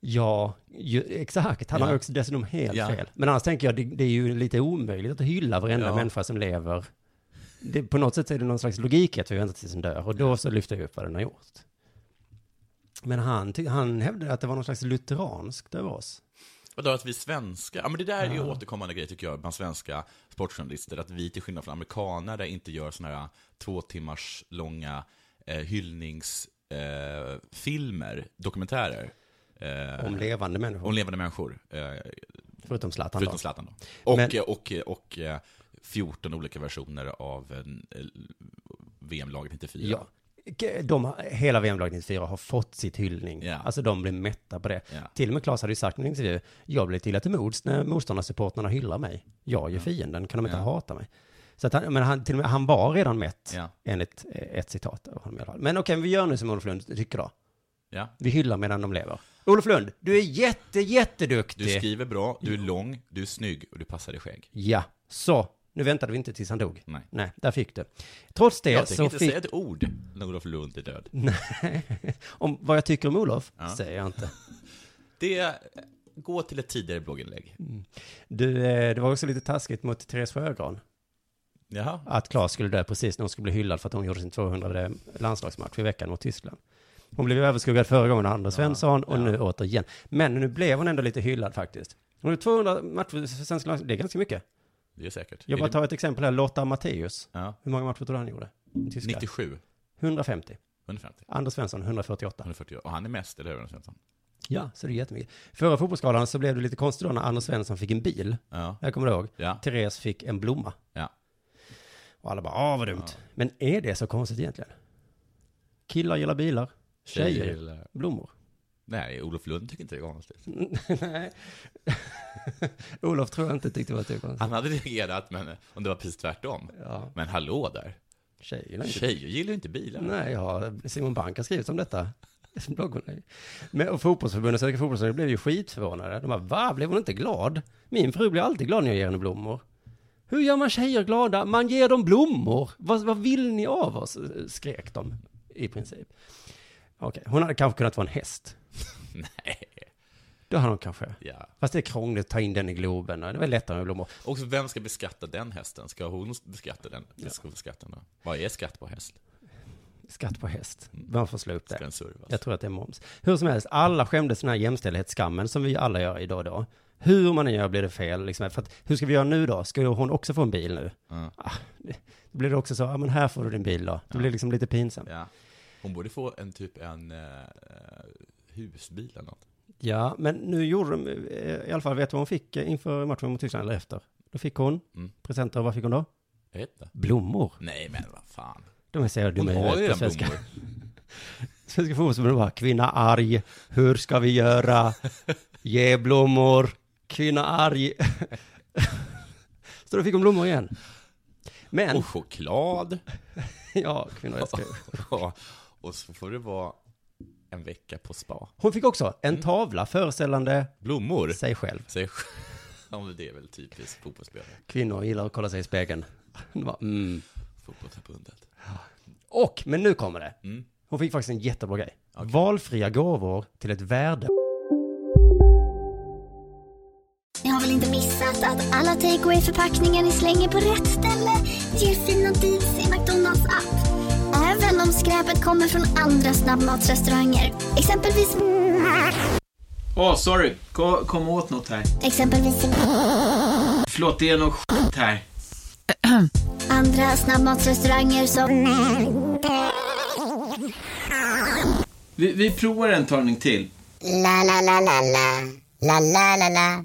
[SPEAKER 6] Ja, ju, exakt. Han
[SPEAKER 8] Ja.
[SPEAKER 6] har också dessutom helt
[SPEAKER 8] Ja.
[SPEAKER 6] fel. Men annars tänker jag, det, det är ju lite omöjligt att hylla varenda
[SPEAKER 8] Ja.
[SPEAKER 6] människa som lever. Det, på något sätt är det någon slags logik i att vi väntar tills den dör. Och då så lyfter jag upp vad den har gjort. Men han, ty- han hävdade att det var någon slags lutheranskt över oss.
[SPEAKER 8] Vadå, att vi svenskar? Ja, men det där är ju
[SPEAKER 6] Ja.
[SPEAKER 8] återkommande grej tycker jag bland svenska sportjournalister, att vi till skillnad från amerikanare inte gör sådana här två timmars långa eh, hyllningsfilmer, eh, filmer, dokumentärer. eh,
[SPEAKER 6] Om levande människor.
[SPEAKER 8] Om levande människor. Eh,
[SPEAKER 6] Förutom Zlatan.
[SPEAKER 8] förutom
[SPEAKER 6] då.
[SPEAKER 8] Zlatan då. Och,
[SPEAKER 6] Men-
[SPEAKER 8] eh, och, eh, och, eh, 14 olika versioner av eh, VM-laget 94.
[SPEAKER 6] Ja. De, hela VM-laget 94 har fått sitt hyllning.
[SPEAKER 8] Ja.
[SPEAKER 6] Alltså de blir mätta på det.
[SPEAKER 8] Ja.
[SPEAKER 6] Till och med Claes hade ju sagt i en intervju, jag blir till illa till mods när motståndarsupportrarna hyllar mig. Jag är ju fienden, kan de inte
[SPEAKER 8] Ja.
[SPEAKER 6] hata mig? Så att han, men han, till och med, han var redan mätt,
[SPEAKER 8] Ja.
[SPEAKER 6] enligt eh, ett citat av honom i alla fall. Men okej, vi gör nu som Olof Lund tycker då.
[SPEAKER 8] Ja.
[SPEAKER 6] Vi hyllar medan de lever. Olof Lund, du är jätte, jätteduktig!
[SPEAKER 8] Du skriver bra, du är lång, du är snygg och du passar i skägg.
[SPEAKER 6] Ja, så. Nu väntade vi inte tills han dog.
[SPEAKER 8] Nej.
[SPEAKER 6] Nej, där fick du. Trots det
[SPEAKER 8] Jag tänker
[SPEAKER 6] så
[SPEAKER 8] inte
[SPEAKER 6] fick...
[SPEAKER 8] säga ett ord när Olof Lund är död.
[SPEAKER 6] Nej, om vad jag tycker om Olof säger jag inte.
[SPEAKER 8] Det, gå till ett tidigare blogginlägg.
[SPEAKER 6] Du, eh, det var också lite taskigt mot Therese Sjögran
[SPEAKER 8] Jaha.
[SPEAKER 6] att Claes skulle dö precis när hon skulle bli hyllad för att hon gjorde sin 200 landslagsmatch i veckan mot Tyskland. Hon blev överskuggad förra gången av Anders Svensson och nu återigen. Men nu blev hon ändå lite hyllad faktiskt. Hon gjorde 200 matcher för svenska landslaget, det är ganska mycket.
[SPEAKER 8] Det är säkert.
[SPEAKER 6] Jag
[SPEAKER 8] Är
[SPEAKER 6] bara
[SPEAKER 8] det-
[SPEAKER 6] tar ett exempel här, Lotta Matteus.
[SPEAKER 8] ja.
[SPEAKER 6] Hur många matcher tror du han gjorde? Tyskland?
[SPEAKER 8] 97,
[SPEAKER 6] 150.
[SPEAKER 8] 150,
[SPEAKER 6] Anders Svensson 148.
[SPEAKER 8] 140. Och han är mest, eller hur? Svensson?
[SPEAKER 6] Ja, så det är jättemycket. Förra fotbollsskalan så blev det lite konstigt då när Anders Svensson fick en bil.
[SPEAKER 8] Ja.
[SPEAKER 6] Jag kommer ihåg.
[SPEAKER 8] Ja.
[SPEAKER 6] Therese fick en blomma.
[SPEAKER 8] Ja.
[SPEAKER 6] Och alla bara, ah vad dumt. Men är det så konstigt egentligen? Killar gillar bilar, tjejer,
[SPEAKER 8] Tjejer gillar-
[SPEAKER 6] blommor.
[SPEAKER 8] Nej, Olof Lund tycker inte det är konstigt.
[SPEAKER 6] Nej. Olof tror jag inte tyckte det var så konstigt.
[SPEAKER 8] Han hade reagerat, men om det var precis tvärtom.
[SPEAKER 6] Ja.
[SPEAKER 8] Men hallå där.
[SPEAKER 6] Tjejer gillar inte
[SPEAKER 8] Tjejer gillar ju inte bilar.
[SPEAKER 6] Nej, ja, Simon Bank har skrivit om detta. Blogginlägg. Men och fotbollsförbundet, Svenska fotbollsförbundet blev ju skitförvånade. De bara, va, blev hon inte glad? Min fru blir alltid glad när jag ger henne blommor. Hur gör man tjejer glada? Man ger dem blommor. Vad, vad vill ni av oss? Skrek de i princip. Okej, hon hade kanske kunnat vara en häst.
[SPEAKER 8] Nej.
[SPEAKER 6] Då hade hon kanske.
[SPEAKER 8] Ja.
[SPEAKER 6] Fast det är krångligt att ta in den i Globen. och Det var lättare med blommor.
[SPEAKER 8] Och så vem ska beskatta den hästen? Ska hon beskatta den? Ska beskatta den? Vad är skatt på häst?
[SPEAKER 6] Skatt på häst. Man får slå upp det.
[SPEAKER 8] Mm. Ska den servas?
[SPEAKER 6] Jag tror att det är moms. Hur som helst, alla skämdes den här jämställdhetsskammen som vi alla gör idag och då. Hur man än gör blir det fel. Liksom. För att, hur ska vi göra nu då? Ska hon också få en bil nu? Ah, det- då blir det också så, ja men här får du din bil då. Det blir liksom lite pinsamt. Ja.
[SPEAKER 8] Ja. Hon borde få en typ en eh, eh, husbil eller något.
[SPEAKER 6] men nu gjorde de, eh, i alla fall vet du vad hon fick eh, inför matchen mot Tyskland eller efter? Då fick hon
[SPEAKER 8] Mm.
[SPEAKER 6] presenter, vad fick hon då?
[SPEAKER 8] Jag vet inte.
[SPEAKER 6] Blommor.
[SPEAKER 8] Nej, men vad fan.
[SPEAKER 6] De är så
[SPEAKER 8] Hon
[SPEAKER 6] dumma i
[SPEAKER 8] har ju
[SPEAKER 6] huvudet på
[SPEAKER 8] redan
[SPEAKER 6] svenska.
[SPEAKER 8] blommor.
[SPEAKER 6] Svenska fotbollsförbundet bara, kvinna arg, hur ska vi göra? Ge blommor, kvinna arg. Så då fick hon blommor igen. Men,
[SPEAKER 8] Och choklad.
[SPEAKER 6] ja, kvinnor älskar ju.
[SPEAKER 8] Ja, och så får det vara en vecka på spa.
[SPEAKER 6] Hon fick också en tavla föreställande
[SPEAKER 8] Mm. Blommor?
[SPEAKER 6] sig själv.
[SPEAKER 8] Säg sj- Ja, men det är väl typiskt fotbollsspelare.
[SPEAKER 6] Kvinnor gillar att kolla sig i spegeln. Hon bara, mm.
[SPEAKER 8] Fotbollsförbundet.
[SPEAKER 6] Och, men nu kommer det.
[SPEAKER 8] Mm.
[SPEAKER 6] Hon fick faktiskt en jättebra grej. Valfria gåvor till ett värde.
[SPEAKER 11] Ni har väl inte missat att alla takeaway förpackningar ni slänger på rätt ställe ger fina deals i McDonalds app. Även om skräpet kommer från andra snabbmatsrestauranger. Exempelvis...
[SPEAKER 12] Åh, sorry. Kom, kom åt något här.
[SPEAKER 11] Exempelvis...
[SPEAKER 12] Förlåt, det är något skit här.
[SPEAKER 11] Andra snabbmatsrestauranger som...
[SPEAKER 12] Vi, vi provar en talning till.
[SPEAKER 11] La, la, la, la, la. La, la, la, la.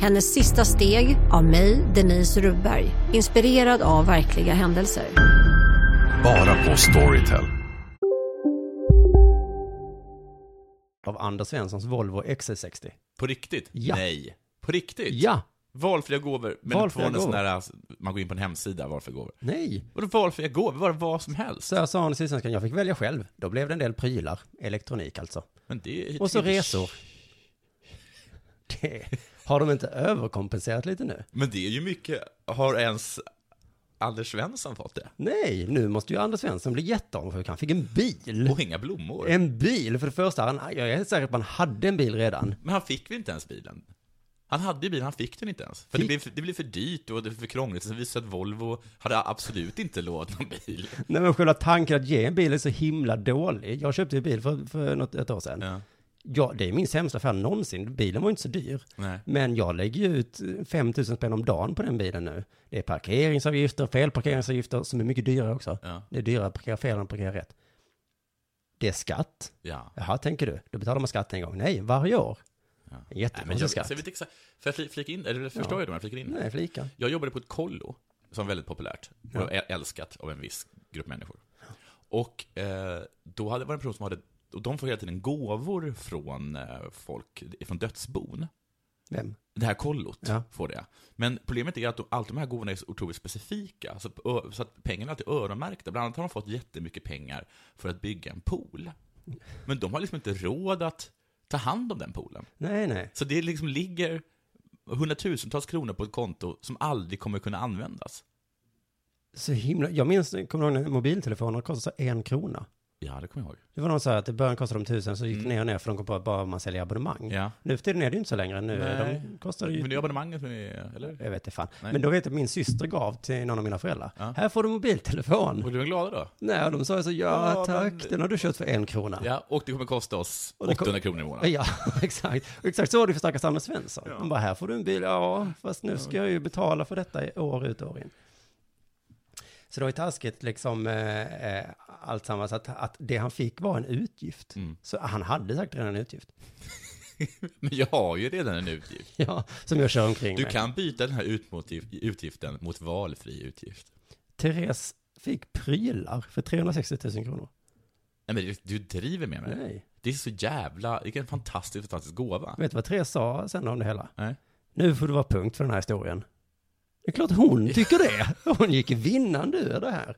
[SPEAKER 3] Hennes sista steg av mig, Denise Rubberg. Inspirerad av verkliga händelser.
[SPEAKER 13] Bara på Storytel.
[SPEAKER 6] Av Anders Svenssons Volvo XC60.
[SPEAKER 8] På riktigt?
[SPEAKER 6] Ja.
[SPEAKER 8] Nej. På riktigt?
[SPEAKER 6] Ja.
[SPEAKER 8] Valfria gåvor, men valfria
[SPEAKER 6] Valfria
[SPEAKER 8] gåvor. Sån
[SPEAKER 6] gåvor.
[SPEAKER 8] där, alltså, man går in på en hemsida, valfria gåvor.
[SPEAKER 6] Nej.
[SPEAKER 8] Vadå valfria gåvor? Bara vad som helst?
[SPEAKER 6] Så jag sa han i Sydsvenskan, jag fick välja själv. Då blev det en del prylar. Elektronik alltså.
[SPEAKER 8] Men det är-
[SPEAKER 6] Och så resor. Det, har de inte överkompenserat lite nu?
[SPEAKER 8] Men det är ju mycket, har ens Anders Svensson fått det?
[SPEAKER 6] Nej, nu måste ju Anders Svensson bli jätteavundsjuk. Han fick en bil.
[SPEAKER 8] Och inga blommor.
[SPEAKER 6] En bil, för det första. Han, jag är säker på att man hade en bil redan.
[SPEAKER 8] Men han fick väl inte ens bilen? Han hade ju bilen, han fick den inte ens. För det blev, det blev för dyrt och det blev för krångligt, så det visade sig att Volvo hade absolut inte lovat någon bil.
[SPEAKER 6] Nej men själva tanken att ge en bil är så himla dålig. Jag köpte ju bil för, för något, ett år sedan. Ja. det är min sämsta affär någonsin. Bilen var ju inte så dyr.
[SPEAKER 8] Nej.
[SPEAKER 6] Men jag lägger ju ut 5 000 spänn om dagen på den bilen nu. Det är parkeringsavgifter, felparkeringsavgifter som är mycket dyrare också.
[SPEAKER 8] Ja.
[SPEAKER 6] Det är dyrare att parkera fel än att parkera rätt. Det är skatt.
[SPEAKER 8] Ja.
[SPEAKER 6] Jaha, tänker du. Då betalar man skatt en gång. Nej, varje år. Ja.
[SPEAKER 8] Men jag,
[SPEAKER 6] Jättekonstig skatt.
[SPEAKER 8] så jag vet exakt, för jag fli- flika in, eller förstår
[SPEAKER 6] Ja.
[SPEAKER 8] jag det om jag flikar in?
[SPEAKER 6] Nej, flika.
[SPEAKER 8] Jag jobbade på ett kollo, som är väldigt populärt,
[SPEAKER 6] Ja.
[SPEAKER 8] och ä- älskat av en viss grupp människor. Och eh, då hade det var en person som hade, och de får hela tiden gåvor från eh, folk, från dödsbon.
[SPEAKER 6] Vem?
[SPEAKER 8] Det här kollot
[SPEAKER 6] Ja.
[SPEAKER 8] får det. Men problemet är att de, allt de här gåvorna är så otroligt specifika, så, ö- så att pengarna är alltid öronmärkta. Bland annat har de fått jättemycket pengar för att bygga en pool. Men de har liksom inte råd att ta hand om den poolen.
[SPEAKER 6] Nej, nej.
[SPEAKER 8] Så det liksom ligger hundratusentals kronor på ett konto som aldrig kommer kunna användas.
[SPEAKER 6] Så himla, jag minns, kommer du ihåg när mobiltelefoner kostade så en krona?
[SPEAKER 8] Ja, det kommer jag ihåg.
[SPEAKER 6] Det var någon så här att i början kostade de tusen, så gick det ner och ner för de kom på att bara man säljer abonnemang.
[SPEAKER 8] Mm. Ja.
[SPEAKER 6] Nu för tiden är det ju inte så längre, nu är
[SPEAKER 8] Nej.
[SPEAKER 6] de kostar ju...
[SPEAKER 8] Men det är abonnemanget som är, eller?
[SPEAKER 6] Jag vet inte fan.
[SPEAKER 8] Nej.
[SPEAKER 6] Men då vet jag att min syster gav till någon av mina föräldrar. Här får du mobiltelefon.
[SPEAKER 8] Och du är glada då?
[SPEAKER 6] Nej, och de sa så, ja,
[SPEAKER 8] Ja,
[SPEAKER 6] tack,
[SPEAKER 8] men-
[SPEAKER 6] den har du köpt för en krona.
[SPEAKER 8] Ja, och det kommer kosta oss
[SPEAKER 6] Och det
[SPEAKER 8] 800
[SPEAKER 6] kom-
[SPEAKER 8] kronor i månaden.
[SPEAKER 6] Ja, exakt. Och Exakt så var det för stackars Anders Svensson. De bara, här får du en bil, ja, fast nu ska jag ju betala för detta i år ut och år in. Så det var ju taskigt liksom eh, eh, allt sammans, att, att det han fick var en utgift.
[SPEAKER 8] Mm.
[SPEAKER 6] Så han hade sagt redan en utgift.
[SPEAKER 8] Men jag har ju redan en utgift.
[SPEAKER 6] Ja, som jag kör omkring
[SPEAKER 8] Du
[SPEAKER 6] med.
[SPEAKER 8] kan byta den här utmotiv- utgiften mot valfri utgift.
[SPEAKER 6] Therese fick prylar för 360 000 kronor.
[SPEAKER 8] Nej, men du, du driver med mig.
[SPEAKER 6] Nej.
[SPEAKER 8] Det är så jävla, vilken fantastisk, fantastisk gåva.
[SPEAKER 6] Vet du vad Therese sa sen om det hela?
[SPEAKER 8] Nej.
[SPEAKER 6] Nu får du vara punkt för den här historien. Det är klart hon tycker det. Hon gick vinnande ur det här.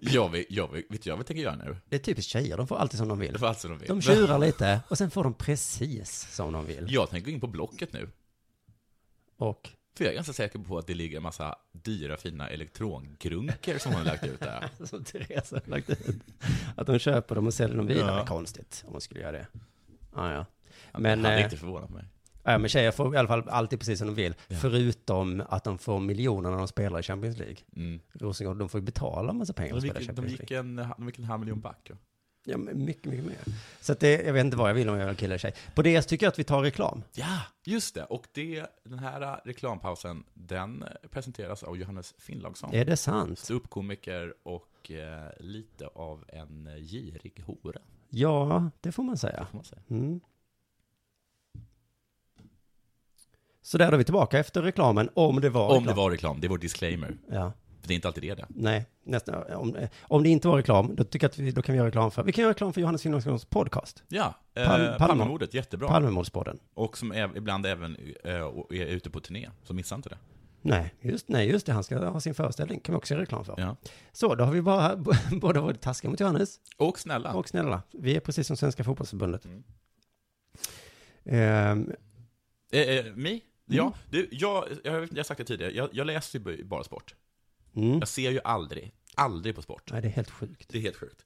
[SPEAKER 8] Jag vill, jag vill, vet du vad jag tänker göra nu?
[SPEAKER 6] Det är typiskt tjejer, de får alltid som de vill.
[SPEAKER 8] Det var allt som de vill.
[SPEAKER 6] De tjurar lite och sen får de precis som de vill.
[SPEAKER 8] Jag tänker gå in på Blocket nu.
[SPEAKER 6] Och?
[SPEAKER 8] För jag är ganska säker på att det ligger en massa dyra fina elektrongrunker som hon har lagt ut där.
[SPEAKER 6] Som Therese har lagt ut. Att de köper dem och säljer dem vidare.
[SPEAKER 8] Ja.
[SPEAKER 6] Det är konstigt om de skulle göra det. Ja, ja.
[SPEAKER 8] Men,
[SPEAKER 6] Men,
[SPEAKER 8] hade
[SPEAKER 6] eh,
[SPEAKER 8] inte förvånat mig.
[SPEAKER 6] ja, men tjejer får i alla fall alltid precis som de vill.
[SPEAKER 8] Ja.
[SPEAKER 6] Förutom att de får miljoner när de spelar i Champions League.
[SPEAKER 8] Mm.
[SPEAKER 6] Rosengård, de får ju betala en massa pengar för
[SPEAKER 8] De
[SPEAKER 6] att spela i
[SPEAKER 8] gick, de,
[SPEAKER 6] Champions League.
[SPEAKER 8] gick en, de gick en halv miljon back. Ja.
[SPEAKER 6] Ja, men mycket, mycket mer. Så att det, jag vet inte vad jag vill om jag är kille eller tjej. På det tycker jag att vi tar reklam.
[SPEAKER 8] ja, just det. Och det, den här reklampausen, den presenteras av Johannes Finnlaugsson.
[SPEAKER 6] Är det sant?
[SPEAKER 8] Ståuppkomiker och eh, lite av en girig hora.
[SPEAKER 6] Ja, det får man säga.
[SPEAKER 8] får man säga.
[SPEAKER 6] Mm. Så där är vi tillbaka efter reklamen, om det var
[SPEAKER 8] Om
[SPEAKER 6] reklam.
[SPEAKER 8] det var reklam, det är vår disclaimer.
[SPEAKER 6] Ja.
[SPEAKER 8] För det är inte alltid det är det.
[SPEAKER 6] Nej, nästan. Om, eh, om det inte var reklam, då tycker jag att vi, då kan vi göra reklam för, vi kan göra reklam för Johannes Finnlagssons podcast.
[SPEAKER 8] Ja, eh,
[SPEAKER 6] Palm-
[SPEAKER 8] Palmemordet, jättebra.
[SPEAKER 6] Palmemordspodden.
[SPEAKER 8] Och som är, ibland även eh, och är ute på turné, så missa inte det.
[SPEAKER 6] Nej just, nej, just det, han ska ha sin föreställning, kan vi också göra reklam för.
[SPEAKER 8] Ja.
[SPEAKER 6] Så, då har vi bara, båda varit taskiga mot Johannes.
[SPEAKER 8] Och snälla.
[SPEAKER 6] Och snälla. Vi är precis som Svenska Fotbollförbundet.
[SPEAKER 8] Mm.
[SPEAKER 6] Ehm,
[SPEAKER 8] Eh, eh, mig? Ja,
[SPEAKER 6] Mm.
[SPEAKER 8] du, jag, jag, har- jag har sagt det tidigare, jag, jag läser ju bara sport.
[SPEAKER 6] Mm.
[SPEAKER 8] Jag ser ju aldrig, aldrig på sport.
[SPEAKER 6] Nej, det är helt sjukt.
[SPEAKER 8] Det är helt sjukt.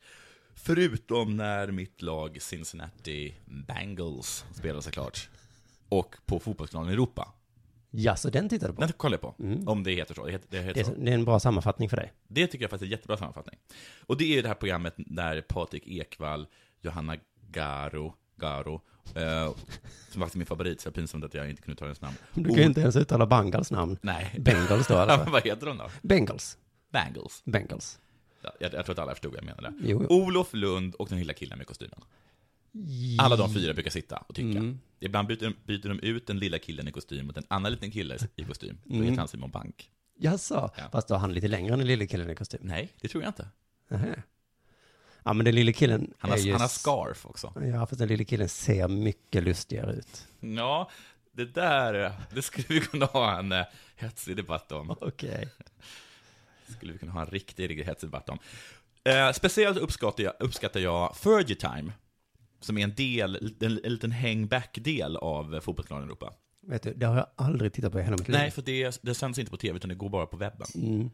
[SPEAKER 8] Förutom när mitt lag Cincinnati Bengals spelar såklart. Och på fotbollsplanen i Europa.
[SPEAKER 6] Ja, så den tittar du på?
[SPEAKER 8] Den kollar jag på. Om det heter så. Det, heter, det, heter
[SPEAKER 6] Mm. Det
[SPEAKER 8] så.
[SPEAKER 6] är, det är en bra sammanfattning för dig.
[SPEAKER 8] Det tycker jag faktiskt är en jättebra sammanfattning. Och det är ju det här programmet där Patrik Ekwall, Johanna Garo, Garo eh, som faktiskt är min favorit, så det är pinsamt att jag inte kunde ta hennes namn.
[SPEAKER 6] Du kan ju inte ens uttala Bangals namn.
[SPEAKER 8] Nej.
[SPEAKER 6] Bengals då, eller?
[SPEAKER 8] Vad heter hon då?
[SPEAKER 6] Bengals.
[SPEAKER 8] Bangles.
[SPEAKER 6] Bengals.
[SPEAKER 8] Ja, Jag, jag tror att alla förstod vad jag menade.
[SPEAKER 6] Jo,
[SPEAKER 8] Olof Lund och den lilla killen med kostymen. Alla de fyra brukar sitta och tycka.
[SPEAKER 6] Mm.
[SPEAKER 8] Ibland byter de, byter de ut den lilla killen i kostym mot en annan liten kille i kostym. Då
[SPEAKER 6] Mm.
[SPEAKER 8] heter han Simon Bank.
[SPEAKER 6] Jaså? Fast då är han lite längre än den lille killen i kostym?
[SPEAKER 8] Nej, det tror jag inte.
[SPEAKER 6] Nähä. Ja, men den lille killen
[SPEAKER 8] Han har,
[SPEAKER 6] är ju...
[SPEAKER 8] han har scarf också.
[SPEAKER 6] Ja, fast den lille killen ser mycket lustigare ut.
[SPEAKER 8] Ja, det där, det skulle vi kunna ha en eh, hetsig debatt om.
[SPEAKER 6] Okej.
[SPEAKER 8] Skulle vi kunna ha en riktig, riktig hetsig debatt om. Eh, speciellt uppskattar jag, uppskattar jag Fergie Time, som är en del, en, en liten hangback-del av eh, Fotbollskanalen Europa.
[SPEAKER 6] Vet du, det har jag aldrig tittat på i hela mitt liv.
[SPEAKER 8] Nej, för det, det sänds inte på tv, utan det går bara på webben.
[SPEAKER 6] Mm.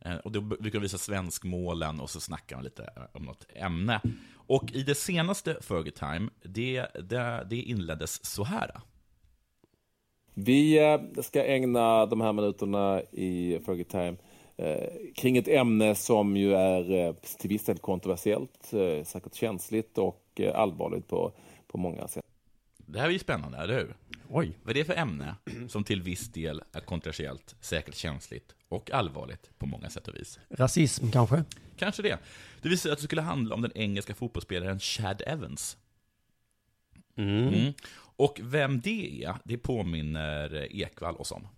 [SPEAKER 8] Eh, Och då brukar de visa svenskmålen och så snackar man lite eh, om något ämne. Och i det senaste Fergie Time, det, det, det inleddes så här.
[SPEAKER 14] Vi eh, ska ägna de här minuterna i Fergie Time eh, kring ett ämne som ju är eh, till viss del kontroversiellt, eh, säkert känsligt och eh, allvarligt på, på många sätt.
[SPEAKER 8] Det här är ju spännande, eller hur?
[SPEAKER 6] Oj.
[SPEAKER 8] Vad är det för ämne som till viss del är kontroversiellt, säkert känsligt och allvarligt på många sätt och vis?
[SPEAKER 6] Rasism kanske?
[SPEAKER 8] Kanske det. Det visar sig att det skulle handla om den engelska fotbollsspelaren Chad Evans. Mm. Och vem det är, det påminner Ekvall oss om.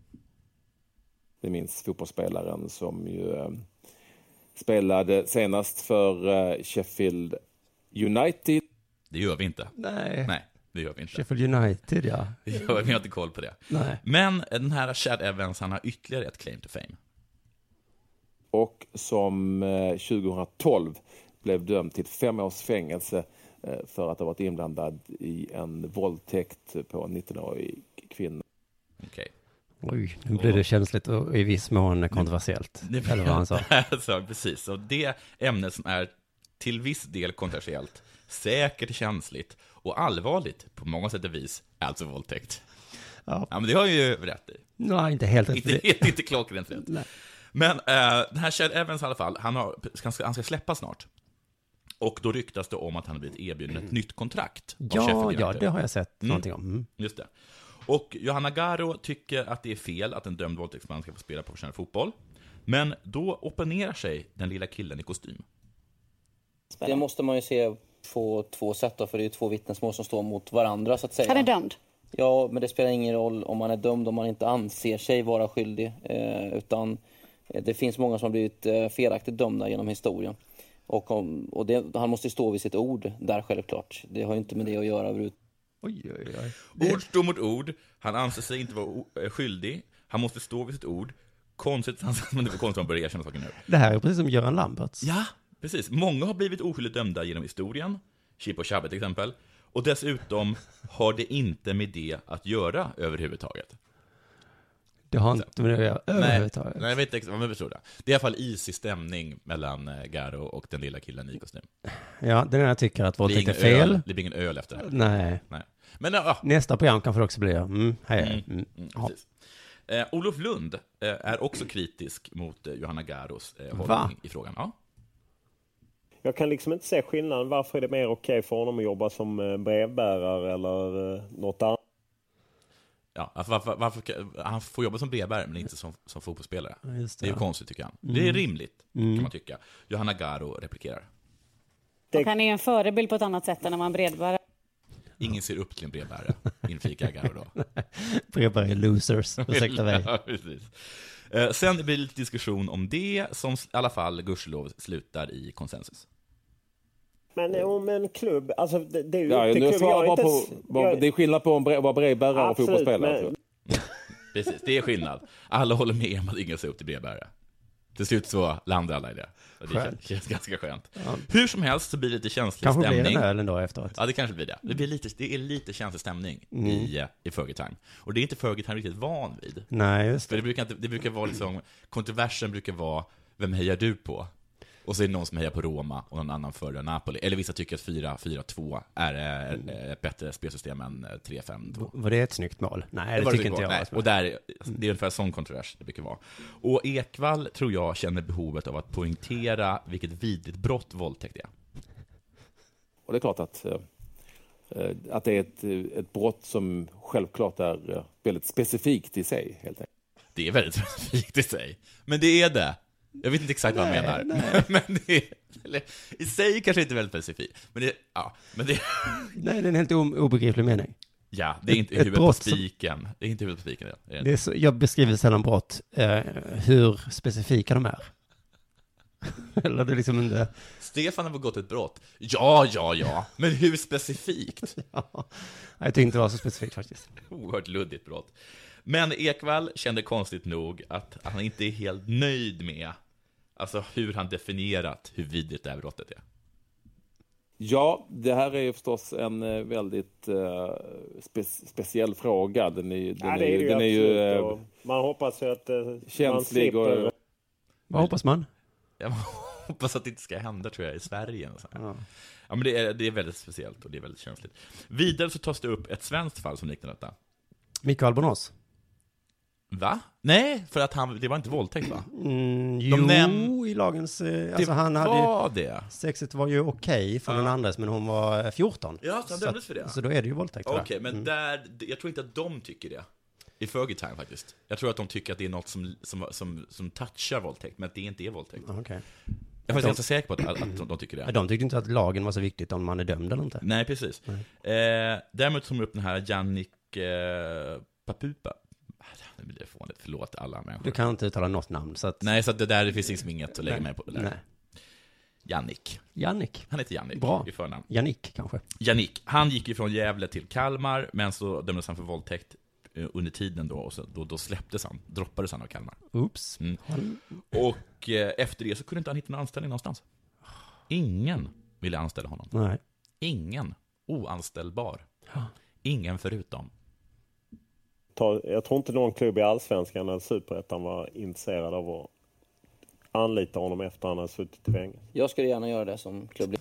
[SPEAKER 14] Vi minns fotbollsspelaren som ju eh, spelade senast för eh, Sheffield United.
[SPEAKER 8] Det gör vi inte.
[SPEAKER 6] Nej.
[SPEAKER 8] Nej, det gör vi inte.
[SPEAKER 6] Sheffield United, ja.
[SPEAKER 8] Ja, vi har inte koll på det.
[SPEAKER 6] Nej.
[SPEAKER 8] Men den här Chad Evans, han har ytterligare ett claim to fame.
[SPEAKER 14] och som eh, 2012 blev dömd till fem års fängelse eh, för att ha varit inblandad i en våldtäkt på en 19-årig kvinna.
[SPEAKER 8] Okej.
[SPEAKER 6] Oj, nu blir det känsligt och i viss mån kontroversiellt.
[SPEAKER 8] Det
[SPEAKER 6] eller vad han sa.
[SPEAKER 8] så, precis, och det ämnet som är till viss del kontroversiellt, säkert känsligt och allvarligt på många sätt och vis, är alltså våldtäkt.
[SPEAKER 6] Ja.
[SPEAKER 8] men det har jag ju rätt i.
[SPEAKER 6] Nej, inte helt rätt.
[SPEAKER 8] Inte, helt, inte klockrent rätt. Men eh, den här Chad Evans i alla fall, han, har, han, ska, han ska släppas snart. Och då ryktas det om att han har blivit erbjuden ett nytt kontrakt. av
[SPEAKER 6] Ja,
[SPEAKER 8] Sheffield
[SPEAKER 6] ja,
[SPEAKER 8] United.
[SPEAKER 6] det har jag sett
[SPEAKER 8] Mm.
[SPEAKER 6] någonting om. Mm.
[SPEAKER 8] Just det. Och Johanna Garo tycker att det är fel att en dömd våldtäktsman ska få spela professionell fotboll. Men då opponerar sig den lilla killen i kostym.
[SPEAKER 15] Det måste man ju se på två sätt då, för det är ju två vittnesmål som står mot varandra så att säga.
[SPEAKER 16] Han är dömd.
[SPEAKER 15] Ja, men det spelar ingen roll om man är dömd om man inte anser sig vara skyldig. Eh, utan eh, det finns många som har blivit eh, felaktigt dömda genom historien. Och, om, och det, han måste ju stå vid sitt ord där självklart. Det har ju inte med det att göra överhuvudtaget.
[SPEAKER 8] Ord står mot ord, han anser sig inte vara o- eh, skyldig, han måste stå vid sitt ord. Konstigt, men det var konstigt att man börjar erkänna saker nu.
[SPEAKER 6] Det här är precis som Göran Lamberts.
[SPEAKER 8] Ja, precis. Många har blivit oskyldigt dömda genom historien, Chip och Chabbe till exempel. Och dessutom har det inte med det att göra överhuvudtaget.
[SPEAKER 6] Det har inte med det att göra överhuvudtaget.
[SPEAKER 8] Nej, nej, jag vet inte exakt vad man förstår det. Det är i alla fall isig stämning mellan eh, Garo och den lilla killen i kostym.
[SPEAKER 6] Ja, den ena tycker att
[SPEAKER 8] Det blir
[SPEAKER 6] våldtäkt är
[SPEAKER 8] ingen
[SPEAKER 6] fel.
[SPEAKER 8] öl- det blir ingen öl efter det här.
[SPEAKER 6] Nej.
[SPEAKER 8] Nej. Men, eh, ja,
[SPEAKER 6] Nästa program kanske det också blir. Mm, hej, hej. Mm. Ja.
[SPEAKER 8] precis. Eh, Olof Lund eh, är också kritisk mot eh, Johanna Garos eh, hållning
[SPEAKER 6] Va?
[SPEAKER 8] i frågan. Ja.
[SPEAKER 17] Jag kan liksom inte se skillnaden. Varför är det mer okej för honom att jobba som eh, brevbärare eller eh, något annat?
[SPEAKER 8] Ja, varför, varför, varför, han får jobba som brevbärare men inte som, som fotbollsspelare.
[SPEAKER 6] Ja, just det,
[SPEAKER 8] det är ju
[SPEAKER 6] ja.
[SPEAKER 8] konstigt tycker han.
[SPEAKER 6] Mm.
[SPEAKER 8] Det är rimligt,
[SPEAKER 6] Mm.
[SPEAKER 8] kan man tycka. Johanna Garo replikerar.
[SPEAKER 16] Och han är en förebild på ett annat sätt än när man bredbär.
[SPEAKER 8] Ingen ser upp till en brevbärare, inflikar Garo då.
[SPEAKER 6] Brevbärare är losers. Ursäkta mig.
[SPEAKER 8] Ja, precis. Eh, Sen blir det lite diskussion om det, som i alla fall gudskelov slutar i konsensus.
[SPEAKER 17] Men om en klubb, alltså det, det är ju
[SPEAKER 14] Ja,
[SPEAKER 17] upp till
[SPEAKER 14] nu
[SPEAKER 17] klubben.
[SPEAKER 14] svarar
[SPEAKER 17] Jag är
[SPEAKER 14] bara
[SPEAKER 17] inte
[SPEAKER 14] på,
[SPEAKER 17] ens-
[SPEAKER 14] vad-
[SPEAKER 17] jag-
[SPEAKER 14] det är skillnad på att vara brevbärare och
[SPEAKER 17] Absolut,
[SPEAKER 14] fotbollsspelare. alltså.
[SPEAKER 17] men-
[SPEAKER 14] tror jag.
[SPEAKER 8] Precis, det är skillnad. Alla håller med om att ingen ser upp till brevbärare. Till slut så landar alla i det. Och det
[SPEAKER 6] Skönt.
[SPEAKER 8] känns ganska skönt.
[SPEAKER 6] Ja.
[SPEAKER 8] Hur som helst så blir det lite känslig
[SPEAKER 6] Kanske blir
[SPEAKER 8] stämning.
[SPEAKER 6] den ölen då efteråt.
[SPEAKER 8] Ja, det kanske blir det. Det, blir lite, det är lite känslig stämning
[SPEAKER 6] Mm.
[SPEAKER 8] i, eh, i Fergie Time. Och det är inte Fergie Time riktigt van vid.
[SPEAKER 6] Nej, just
[SPEAKER 8] För det brukar, inte, det brukar vara liksom, kontroversen brukar vara, vem hejar du på? Och så är det någon som hejar på Roma och någon annan föredrar Napoli. Eller vissa tycker att 4-4-2 är eh, ett bättre spelsystem än eh, 3-5-2.
[SPEAKER 6] Var det ett snyggt mål? Nej, det,
[SPEAKER 8] var
[SPEAKER 6] tycker
[SPEAKER 8] tycker
[SPEAKER 6] inte jag.
[SPEAKER 8] var.
[SPEAKER 6] alltså.
[SPEAKER 8] Nej, och där, det är ungefär sån kontrovers det brukar vara. Och Ekvall tror jag känner behovet av att poängtera vilket vidrigt brott våldtäkt är.
[SPEAKER 14] Och det är klart att, eh, eh, att det är ett, eh, ett brott som självklart är eh, väldigt specifikt i sig. Helt enkelt.
[SPEAKER 8] Det är väldigt specifikt i sig. Men det är det. Jag vet inte exakt vad
[SPEAKER 14] Nej,
[SPEAKER 8] han menar.
[SPEAKER 14] nej.
[SPEAKER 8] Men det är, eller, I sig kanske inte är väldigt specifikt. Men det, ja, men det,
[SPEAKER 6] Nej, det är en helt o- obegriplig mening.
[SPEAKER 8] ja, det är inte
[SPEAKER 6] Ett- ett
[SPEAKER 8] huvudet på
[SPEAKER 6] brott som-
[SPEAKER 8] spiken. Det är inte huvudet på spiken. Det är det
[SPEAKER 6] Det är
[SPEAKER 8] inte.
[SPEAKER 6] så, jag beskriver sällan brott, eh, hur specifika de är. Eller det är liksom inte...
[SPEAKER 8] Stefan har begått ett brott. Ja, ja, ja. Men hur specifikt?
[SPEAKER 6] Nej, Jag tyckte inte det var så specifikt faktiskt.
[SPEAKER 8] Oerhört luddigt brott. Men Ekvall kände konstigt nog att han inte är helt nöjd med alltså, hur han definierat hur vidrigt det här brottet är.
[SPEAKER 14] Ja, det här är ju förstås en eh, väldigt eh, spe, speciell fråga. Den är, ju- den
[SPEAKER 17] Ja,
[SPEAKER 14] är,
[SPEAKER 17] det är det
[SPEAKER 14] ju-
[SPEAKER 17] ju
[SPEAKER 14] den är ju
[SPEAKER 17] absolut,
[SPEAKER 14] eh,
[SPEAKER 17] och Man hoppas ju att eh, man
[SPEAKER 14] känslig.
[SPEAKER 17] slipper...
[SPEAKER 14] Och,
[SPEAKER 6] Vad hoppas man?
[SPEAKER 8] Jag hoppas att det inte ska hända tror jag i Sverige. Och så här. Ja. men det, är, det är väldigt speciellt och det är väldigt känsligt. Vidare så tas det upp ett svenskt fall som liknar detta.
[SPEAKER 6] Mikael Bonås?
[SPEAKER 8] Va? Nej, för att han, det var inte våldtäkt va?
[SPEAKER 6] Mm,
[SPEAKER 8] De
[SPEAKER 6] jo,
[SPEAKER 8] näm-
[SPEAKER 6] i lagens... eh,
[SPEAKER 8] Det
[SPEAKER 6] Alltså han hade
[SPEAKER 8] var
[SPEAKER 6] ju,
[SPEAKER 8] det.
[SPEAKER 6] Sexet var ju okej för den andres, men hon var eh, 14.
[SPEAKER 8] Ja, så han
[SPEAKER 6] att-
[SPEAKER 8] dömdes för det.
[SPEAKER 6] Så då är det ju våldtäkt. va?
[SPEAKER 8] Okej, men där, jag tror inte att de tycker det. I Fergitime faktiskt. Jag tror att de tycker att det är något som, som, som, som touchar våldtäkt, men att det inte är våldtäkt.
[SPEAKER 6] Ja, Mm, okej.
[SPEAKER 8] Jag är faktiskt
[SPEAKER 6] De-
[SPEAKER 8] inte så säker på att, att, att de, de tycker det.
[SPEAKER 6] Ja, De tyckte inte att lagen var så viktigt om man är dömd eller inte.
[SPEAKER 8] Nej, precis. Eh, däremot tog de upp den här Jannik eh, Papupa. Ah, Nu blir det fånigt, förlåt alla människor.
[SPEAKER 6] Du kan inte uttala något namn, så att...
[SPEAKER 8] Nej, så att det där det finns liksom inget att lägga
[SPEAKER 6] Nej.
[SPEAKER 8] mig på. Där.
[SPEAKER 6] Nej.
[SPEAKER 8] Jannik.
[SPEAKER 6] Jannik.
[SPEAKER 8] Han heter Jannik
[SPEAKER 6] Bra.
[SPEAKER 8] i förnamn.
[SPEAKER 6] Jannik, kanske.
[SPEAKER 8] Jannik, han gick ju från Gävle till Kalmar, men så dömdes han för våldtäkt eh, under tiden då, och så, då, då släpptes han, droppades han av Kalmar.
[SPEAKER 6] Oops.
[SPEAKER 8] Mm. Och eh, efter det så kunde inte han hitta någon anställning någonstans. Ingen ville anställa honom.
[SPEAKER 6] Nej.
[SPEAKER 8] Ingen. Oanställbar. Ingen förutom.
[SPEAKER 17] Ta, jag tror inte någon klubb i Allsvenskan eller Superettan var intresserad av att anlita honom efter han hade suttit i fängelse.
[SPEAKER 15] Jag skulle gärna göra det som klubb.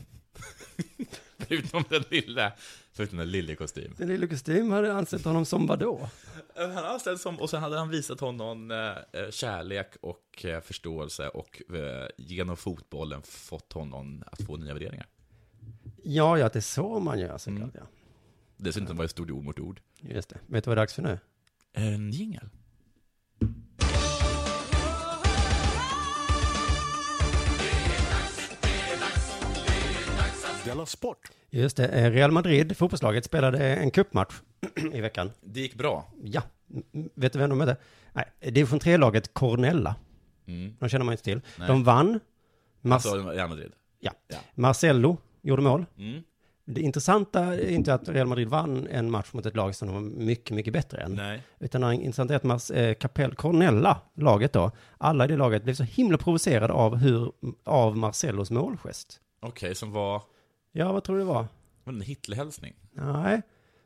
[SPEAKER 8] Förutom den lilla, förutom den lilla kostymen.
[SPEAKER 6] Den lille kostym hade ansett honom som vadå?
[SPEAKER 8] Han anställdes som, och sen hade han visat honom eh, kärlek och eh, förståelse och eh, genom fotbollen fått honom att få nya värderingar.
[SPEAKER 6] Ja, ja, det är så man gör såklart, ja.
[SPEAKER 8] Dessutom var det stort ord mot ord.
[SPEAKER 6] Just det. Vet du vad det är dags för nu?
[SPEAKER 8] En jingel.
[SPEAKER 18] Della Sport.
[SPEAKER 6] Just det, eh, Real Madrid, fotbollslaget, spelade en cupmatch i veckan.
[SPEAKER 8] Det gick bra.
[SPEAKER 6] Ja, M- vet du vem de mötte? Nej, division 3-laget Cornella.
[SPEAKER 8] Mm.
[SPEAKER 6] De känner man inte till.
[SPEAKER 8] Nej.
[SPEAKER 6] De vann. Mas-
[SPEAKER 8] Alltså Real Madrid.
[SPEAKER 6] ja. Marcello gjorde mål.
[SPEAKER 8] Mm.
[SPEAKER 6] Det intressanta är inte att Real Madrid vann en match mot ett lag som de var mycket, mycket bättre än.
[SPEAKER 8] Nej.
[SPEAKER 6] Utan det intressanta är att Mas, eh, Capel Cornella, laget då, alla i det laget blev så himla provocerade av, hur, av Marcellos målgest.
[SPEAKER 8] Okej, som var...
[SPEAKER 6] Ja, vad tror du det var?
[SPEAKER 8] Var det en Hitlerhälsning?
[SPEAKER 6] Nej.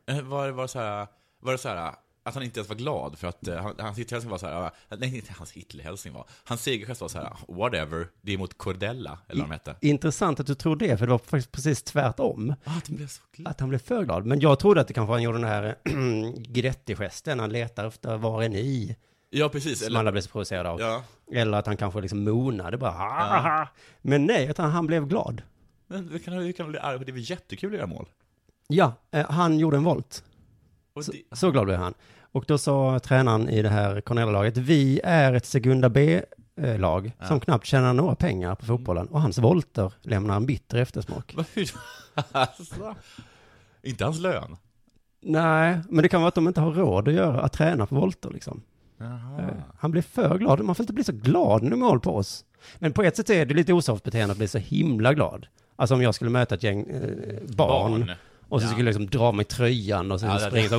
[SPEAKER 8] Eh, Var det, var det så här... Var det så här att han inte ens var glad för att eh, han- hans Hitlerhälsning var så här, eh, nej inte hans Hitlerhälsning var, hans segergest var så här, whatever, det är mot Cordella, eller vad de hette.
[SPEAKER 6] Intressant att du tror det, för det var faktiskt precis tvärtom.
[SPEAKER 8] Ah, Att han blev så glad.
[SPEAKER 6] Att han blev för glad. Men jag trodde att det kanske han gjorde den här Gretti-gesten, han letar efter var är ni?
[SPEAKER 8] Ja, precis.
[SPEAKER 6] Som
[SPEAKER 8] Eller-
[SPEAKER 6] alla blev så provocerade av.
[SPEAKER 8] Ja.
[SPEAKER 6] Eller att han kanske liksom monade bara,
[SPEAKER 8] Ja.
[SPEAKER 6] ja. Men nej, utan han blev glad.
[SPEAKER 8] Men vi kan, vi kan bli arga på det, det är väl jättekul att göra mål?
[SPEAKER 6] Ja, eh, han gjorde en volt.
[SPEAKER 8] Och
[SPEAKER 6] Så,
[SPEAKER 8] det-
[SPEAKER 6] så glad blev han. Och då sa tränaren i det här Cornella-laget, vi är ett Segunda B-lag
[SPEAKER 8] Ja.
[SPEAKER 6] som knappt tjänar några pengar på fotbollen. Och hans volter lämnar en bitter eftersmak.
[SPEAKER 8] Vad- hur- alltså, inte hans lön.
[SPEAKER 6] Nej, men det kan vara att de inte har råd att göra, att träna på volter liksom.
[SPEAKER 8] Jaha.
[SPEAKER 6] Eh, Han blir för glad. Man får inte bli så glad när det är mål på oss. Men på ett sätt är det lite osoft beteende att bli så himla glad. Alltså om jag skulle möta ett gäng eh, barn,
[SPEAKER 8] Barn.
[SPEAKER 6] och så
[SPEAKER 8] Ja.
[SPEAKER 6] skulle jag liksom dra mig tröjan och sen
[SPEAKER 8] Ja, det-
[SPEAKER 6] springa så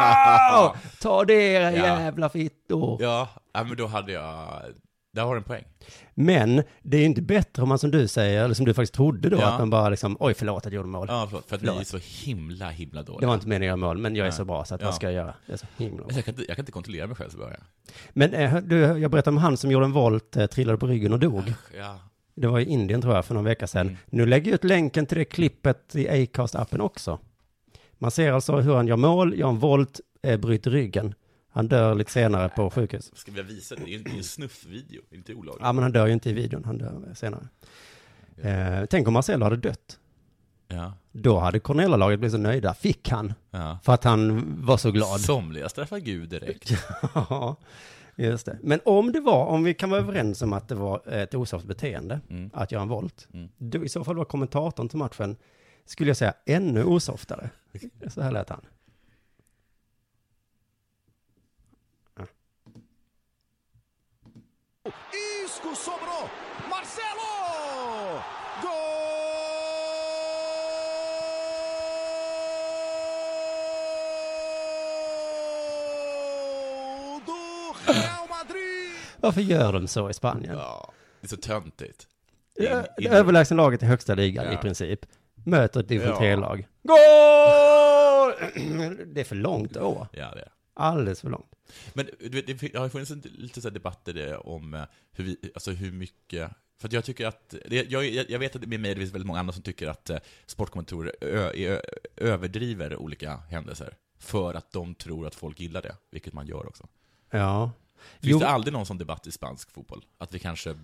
[SPEAKER 6] wow! Ta det era
[SPEAKER 8] Ja.
[SPEAKER 6] jävla fittor!
[SPEAKER 8] Ja, ja, men då hade jag... Där har du en poäng.
[SPEAKER 6] Men det är ju inte bättre om man som du säger, eller som du faktiskt trodde då,
[SPEAKER 8] Ja.
[SPEAKER 6] att man bara liksom oj förlåt att jag gjorde mål.
[SPEAKER 8] Ja, förlåt. För att ni är
[SPEAKER 6] Förlåt.
[SPEAKER 8] så himla, himla dåliga.
[SPEAKER 6] Det var inte meningen att göra mål, men jag är
[SPEAKER 8] Nej.
[SPEAKER 6] så bra så att
[SPEAKER 8] Ja.
[SPEAKER 6] vad ska jag göra? Jag är så himla bra.
[SPEAKER 8] Jag kan, inte, jag kan inte kontrollera mig själv så börjar
[SPEAKER 6] Men eh, du, jag berättade om han som gjorde en volt, eh, trillade på ryggen och dog.
[SPEAKER 8] jag. Ja.
[SPEAKER 6] Det var i Indien tror jag för någon vecka sedan. Nu lägger jag ut länken till det klippet i Acast-appen också. Man ser alltså hur han gör mål, gör en volt, eh, bryter ryggen. Han dör lite senare på sjukhus.
[SPEAKER 8] Ska vi visa det? Det är ju- det är ju en snuffvideo, det är inte olagligt.
[SPEAKER 6] Ja, men han dör ju inte i videon, han dör senare. Eh, tänk om Marcelo hade dött.
[SPEAKER 8] Ja.
[SPEAKER 6] Då hade Cornella-laget blivit så nöjda. Fick han?
[SPEAKER 8] Ja.
[SPEAKER 6] För att han var så glad.
[SPEAKER 8] Somliga straffar Gud direkt.
[SPEAKER 6] ja, just det. Men om det var, om vi kan
[SPEAKER 8] Mm.
[SPEAKER 6] vara överens om att det var ett osoft beteende att göra en volt,
[SPEAKER 8] Mm.
[SPEAKER 6] då i så fall var kommentatorn till matchen, skulle jag säga, ännu osoftare. Så här lät han.
[SPEAKER 18] Isco sobrou. Marcelo! Gol! do Real Madrid!
[SPEAKER 6] Varför gör de så i Spanien?
[SPEAKER 8] Ja, det är så töntigt.
[SPEAKER 6] Det är
[SPEAKER 8] In-
[SPEAKER 6] Överlägsen laget i högsta ligan
[SPEAKER 8] Ja.
[SPEAKER 6] i princip. Möter ett division
[SPEAKER 8] Ja.
[SPEAKER 6] 3-lag. Gol! det är för långt å.
[SPEAKER 8] Ja, det är.
[SPEAKER 6] Alldeles för långt.
[SPEAKER 8] Men du vet, det fin- det har ju funnits en- lite så här debatter det om eh, hur, vi, alltså hur mycket... För att jag tycker att, det- jag, jag- jag vet att med mig det finns väldigt många andra som tycker att eh, sportkommentatorer ö, ö, överdriver olika händelser för att de tror att folk gillar det, vilket man gör också.
[SPEAKER 6] Ja.
[SPEAKER 8] Finns
[SPEAKER 6] Jo.
[SPEAKER 8] det aldrig någon sån debatt i spansk fotboll? Att vi kanske,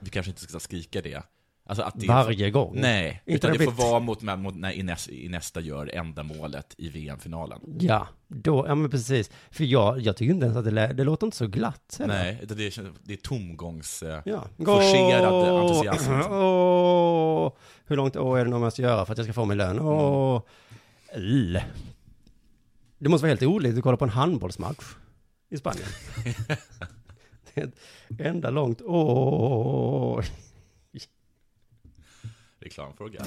[SPEAKER 8] vi kanske inte ska skrika det? Alltså att det
[SPEAKER 6] Varje gång?
[SPEAKER 8] Nej,
[SPEAKER 6] Inte
[SPEAKER 8] utan
[SPEAKER 6] när
[SPEAKER 8] det får
[SPEAKER 6] vi-
[SPEAKER 8] vara mot, mot när Ines, Inesta gör enda målet i VM-finalen.
[SPEAKER 6] Ja, då, ja men precis. För jag, jag tycker inte ens att det, lä- det låter inte så glatt. heller.
[SPEAKER 8] Nej, utan det, känns- det är tomgångs... eh,
[SPEAKER 6] Ja.
[SPEAKER 8] Forcerad
[SPEAKER 6] Åh,
[SPEAKER 8] entusiasm. liksom.
[SPEAKER 6] åh, hur långt å är det någon måste göra för att jag ska få min lön?
[SPEAKER 8] Mm.
[SPEAKER 6] Åh. L. Det måste vara helt olyckligt att kolla på en handbollsmatch i Spanien. det är ett enda långt åh.
[SPEAKER 8] Reklamfråga.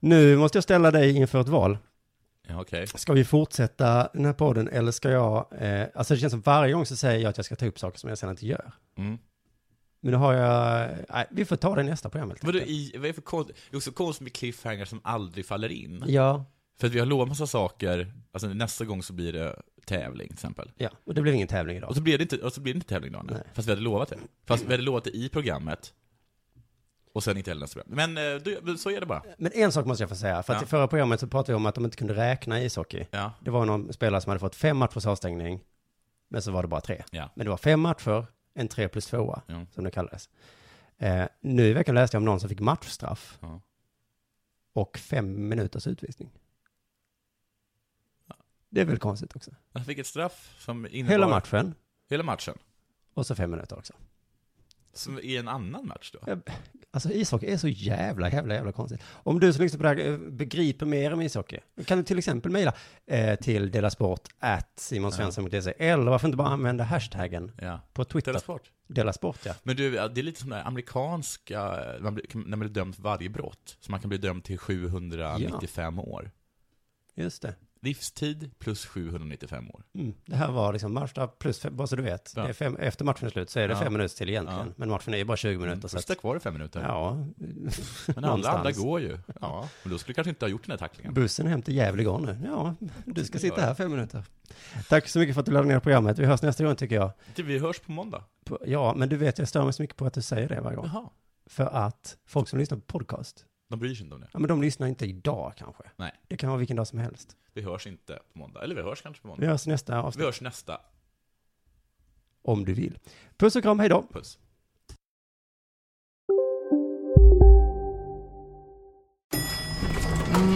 [SPEAKER 6] Nu måste jag ställa dig inför ett val.
[SPEAKER 8] Ja, okej.
[SPEAKER 6] Ska vi fortsätta den här podden eller ska jag, eh, alltså det känns som varje gång så säger jag att jag ska ta upp saker som jag sen inte gör.
[SPEAKER 8] Mm.
[SPEAKER 6] Men nu har jag, nej, vi får ta det i nästa program helt
[SPEAKER 8] Vadå, i, vad är det för konst, det är också konstigt med cliffhanger som aldrig faller in.
[SPEAKER 6] Ja.
[SPEAKER 8] För att vi har lovat massa saker, alltså nästa gång så blir det tävling till exempel.
[SPEAKER 6] Ja, och det blir ingen tävling idag.
[SPEAKER 8] Och så blir det inte, och så blir det inte tävling idag, nej. Fast vi hade lovat det. Fast vi hade lovat det i programmet. Och sen inte heller nästa program. Men eh, du, så är det bara.
[SPEAKER 6] Men en sak måste jag få säga, för att
[SPEAKER 8] Ja.
[SPEAKER 6] i förra programmet så pratade vi om att de inte kunde räkna i ishockey.
[SPEAKER 8] Ja.
[SPEAKER 6] Det var någon spelare som hade fått fem matchers avstängning, men så var det bara tre.
[SPEAKER 8] Ja.
[SPEAKER 6] Men det var fem matcher, en tre plus tvåa, som det kallades. Eh, nu i veckan läste jag om någon som fick matchstraff
[SPEAKER 8] Ja.
[SPEAKER 6] och fem minuters utvisning. Det är väl konstigt också.
[SPEAKER 8] Han fick ett straff som innebar...
[SPEAKER 6] Hela matchen
[SPEAKER 8] Hela matchen.
[SPEAKER 6] och så fem minuter också.
[SPEAKER 8] Som i en annan match då?
[SPEAKER 6] Alltså ishockey är så jävla, jävla, jävla konstigt. Om du som lyssnar på det här eh, begriper mer om ishockey, kan du till exempel mejla eh, till delasport at simonsvensson.se, eller varför inte bara använda hashtaggen
[SPEAKER 8] Ja.
[SPEAKER 6] på Twitter?
[SPEAKER 8] Dela Sport.
[SPEAKER 6] Dela Sport, ja.
[SPEAKER 8] Men du, det är lite som det här amerikanska, man blir, när man blir dömd för varje brott. Så man kan bli dömd till 795 år.
[SPEAKER 6] Just det.
[SPEAKER 8] Livstid plus 795 år.
[SPEAKER 6] Mm. Det här var liksom matchstraff plus, fem, bara så du vet,
[SPEAKER 8] Ja.
[SPEAKER 6] det är fem, efter matchen är slut så är det
[SPEAKER 8] Ja.
[SPEAKER 6] fem minuter till egentligen.
[SPEAKER 8] Ja.
[SPEAKER 6] Men matchen är ju bara 20 minuter. Så
[SPEAKER 8] Sitta Mm. kvar i fem minuter.
[SPEAKER 6] Ja,
[SPEAKER 8] Men alla andra
[SPEAKER 6] någonstans.
[SPEAKER 8] går ju. Ja, men då skulle du kanske inte ha gjort den här tacklingen.
[SPEAKER 6] Bussen hem till Gävle går nu. Ja, du ska
[SPEAKER 8] Det
[SPEAKER 6] sitta
[SPEAKER 8] gör
[SPEAKER 6] här fem minuter. Tack så mycket för att du laddade ner programmet. Vi hörs nästa gång tycker jag.
[SPEAKER 8] Du, Typ, Vi hörs på måndag.
[SPEAKER 6] På- Ja, men du vet, jag stör mig så mycket på att du säger det varje gång.
[SPEAKER 8] Jaha.
[SPEAKER 6] För att folk som lyssnar på podcast,
[SPEAKER 8] De bryr sig inte om det.
[SPEAKER 6] ja men de lyssnar inte idag kanske.
[SPEAKER 8] Nej.
[SPEAKER 6] Det kan vara vilken dag som helst.
[SPEAKER 8] Vi hörs inte på måndag. Eller vi hörs kanske på måndag.
[SPEAKER 6] Vi hörs i nästa avsnitt.
[SPEAKER 8] Vi hörs nästa.
[SPEAKER 6] Om du vill. Puss och kram, hej då.
[SPEAKER 8] Puss.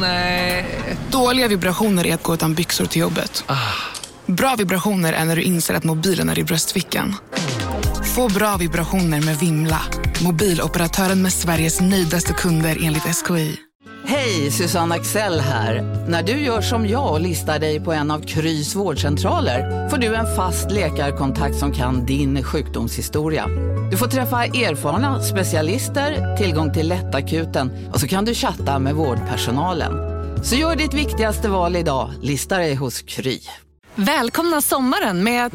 [SPEAKER 19] Nej. Dåliga vibrationer är att gå utan byxor till jobbet. Bra vibrationer är när du inser att mobilen är i bröstfickan. Få bra vibrationer med Vimla. Mobiloperatören med Sveriges nöjdaste kunder enligt SKI.
[SPEAKER 4] Hej, Susanne Axel här. När du gör som jag och listar dig på en av Krys vårdcentraler får du en fast läkarkontakt som kan din sjukdomshistoria. Du får träffa erfarna specialister, tillgång till lättakuten och så kan du chatta med vårdpersonalen. Så gör ditt viktigaste val idag, listar dig hos Kry.
[SPEAKER 20] Välkomna sommaren med att...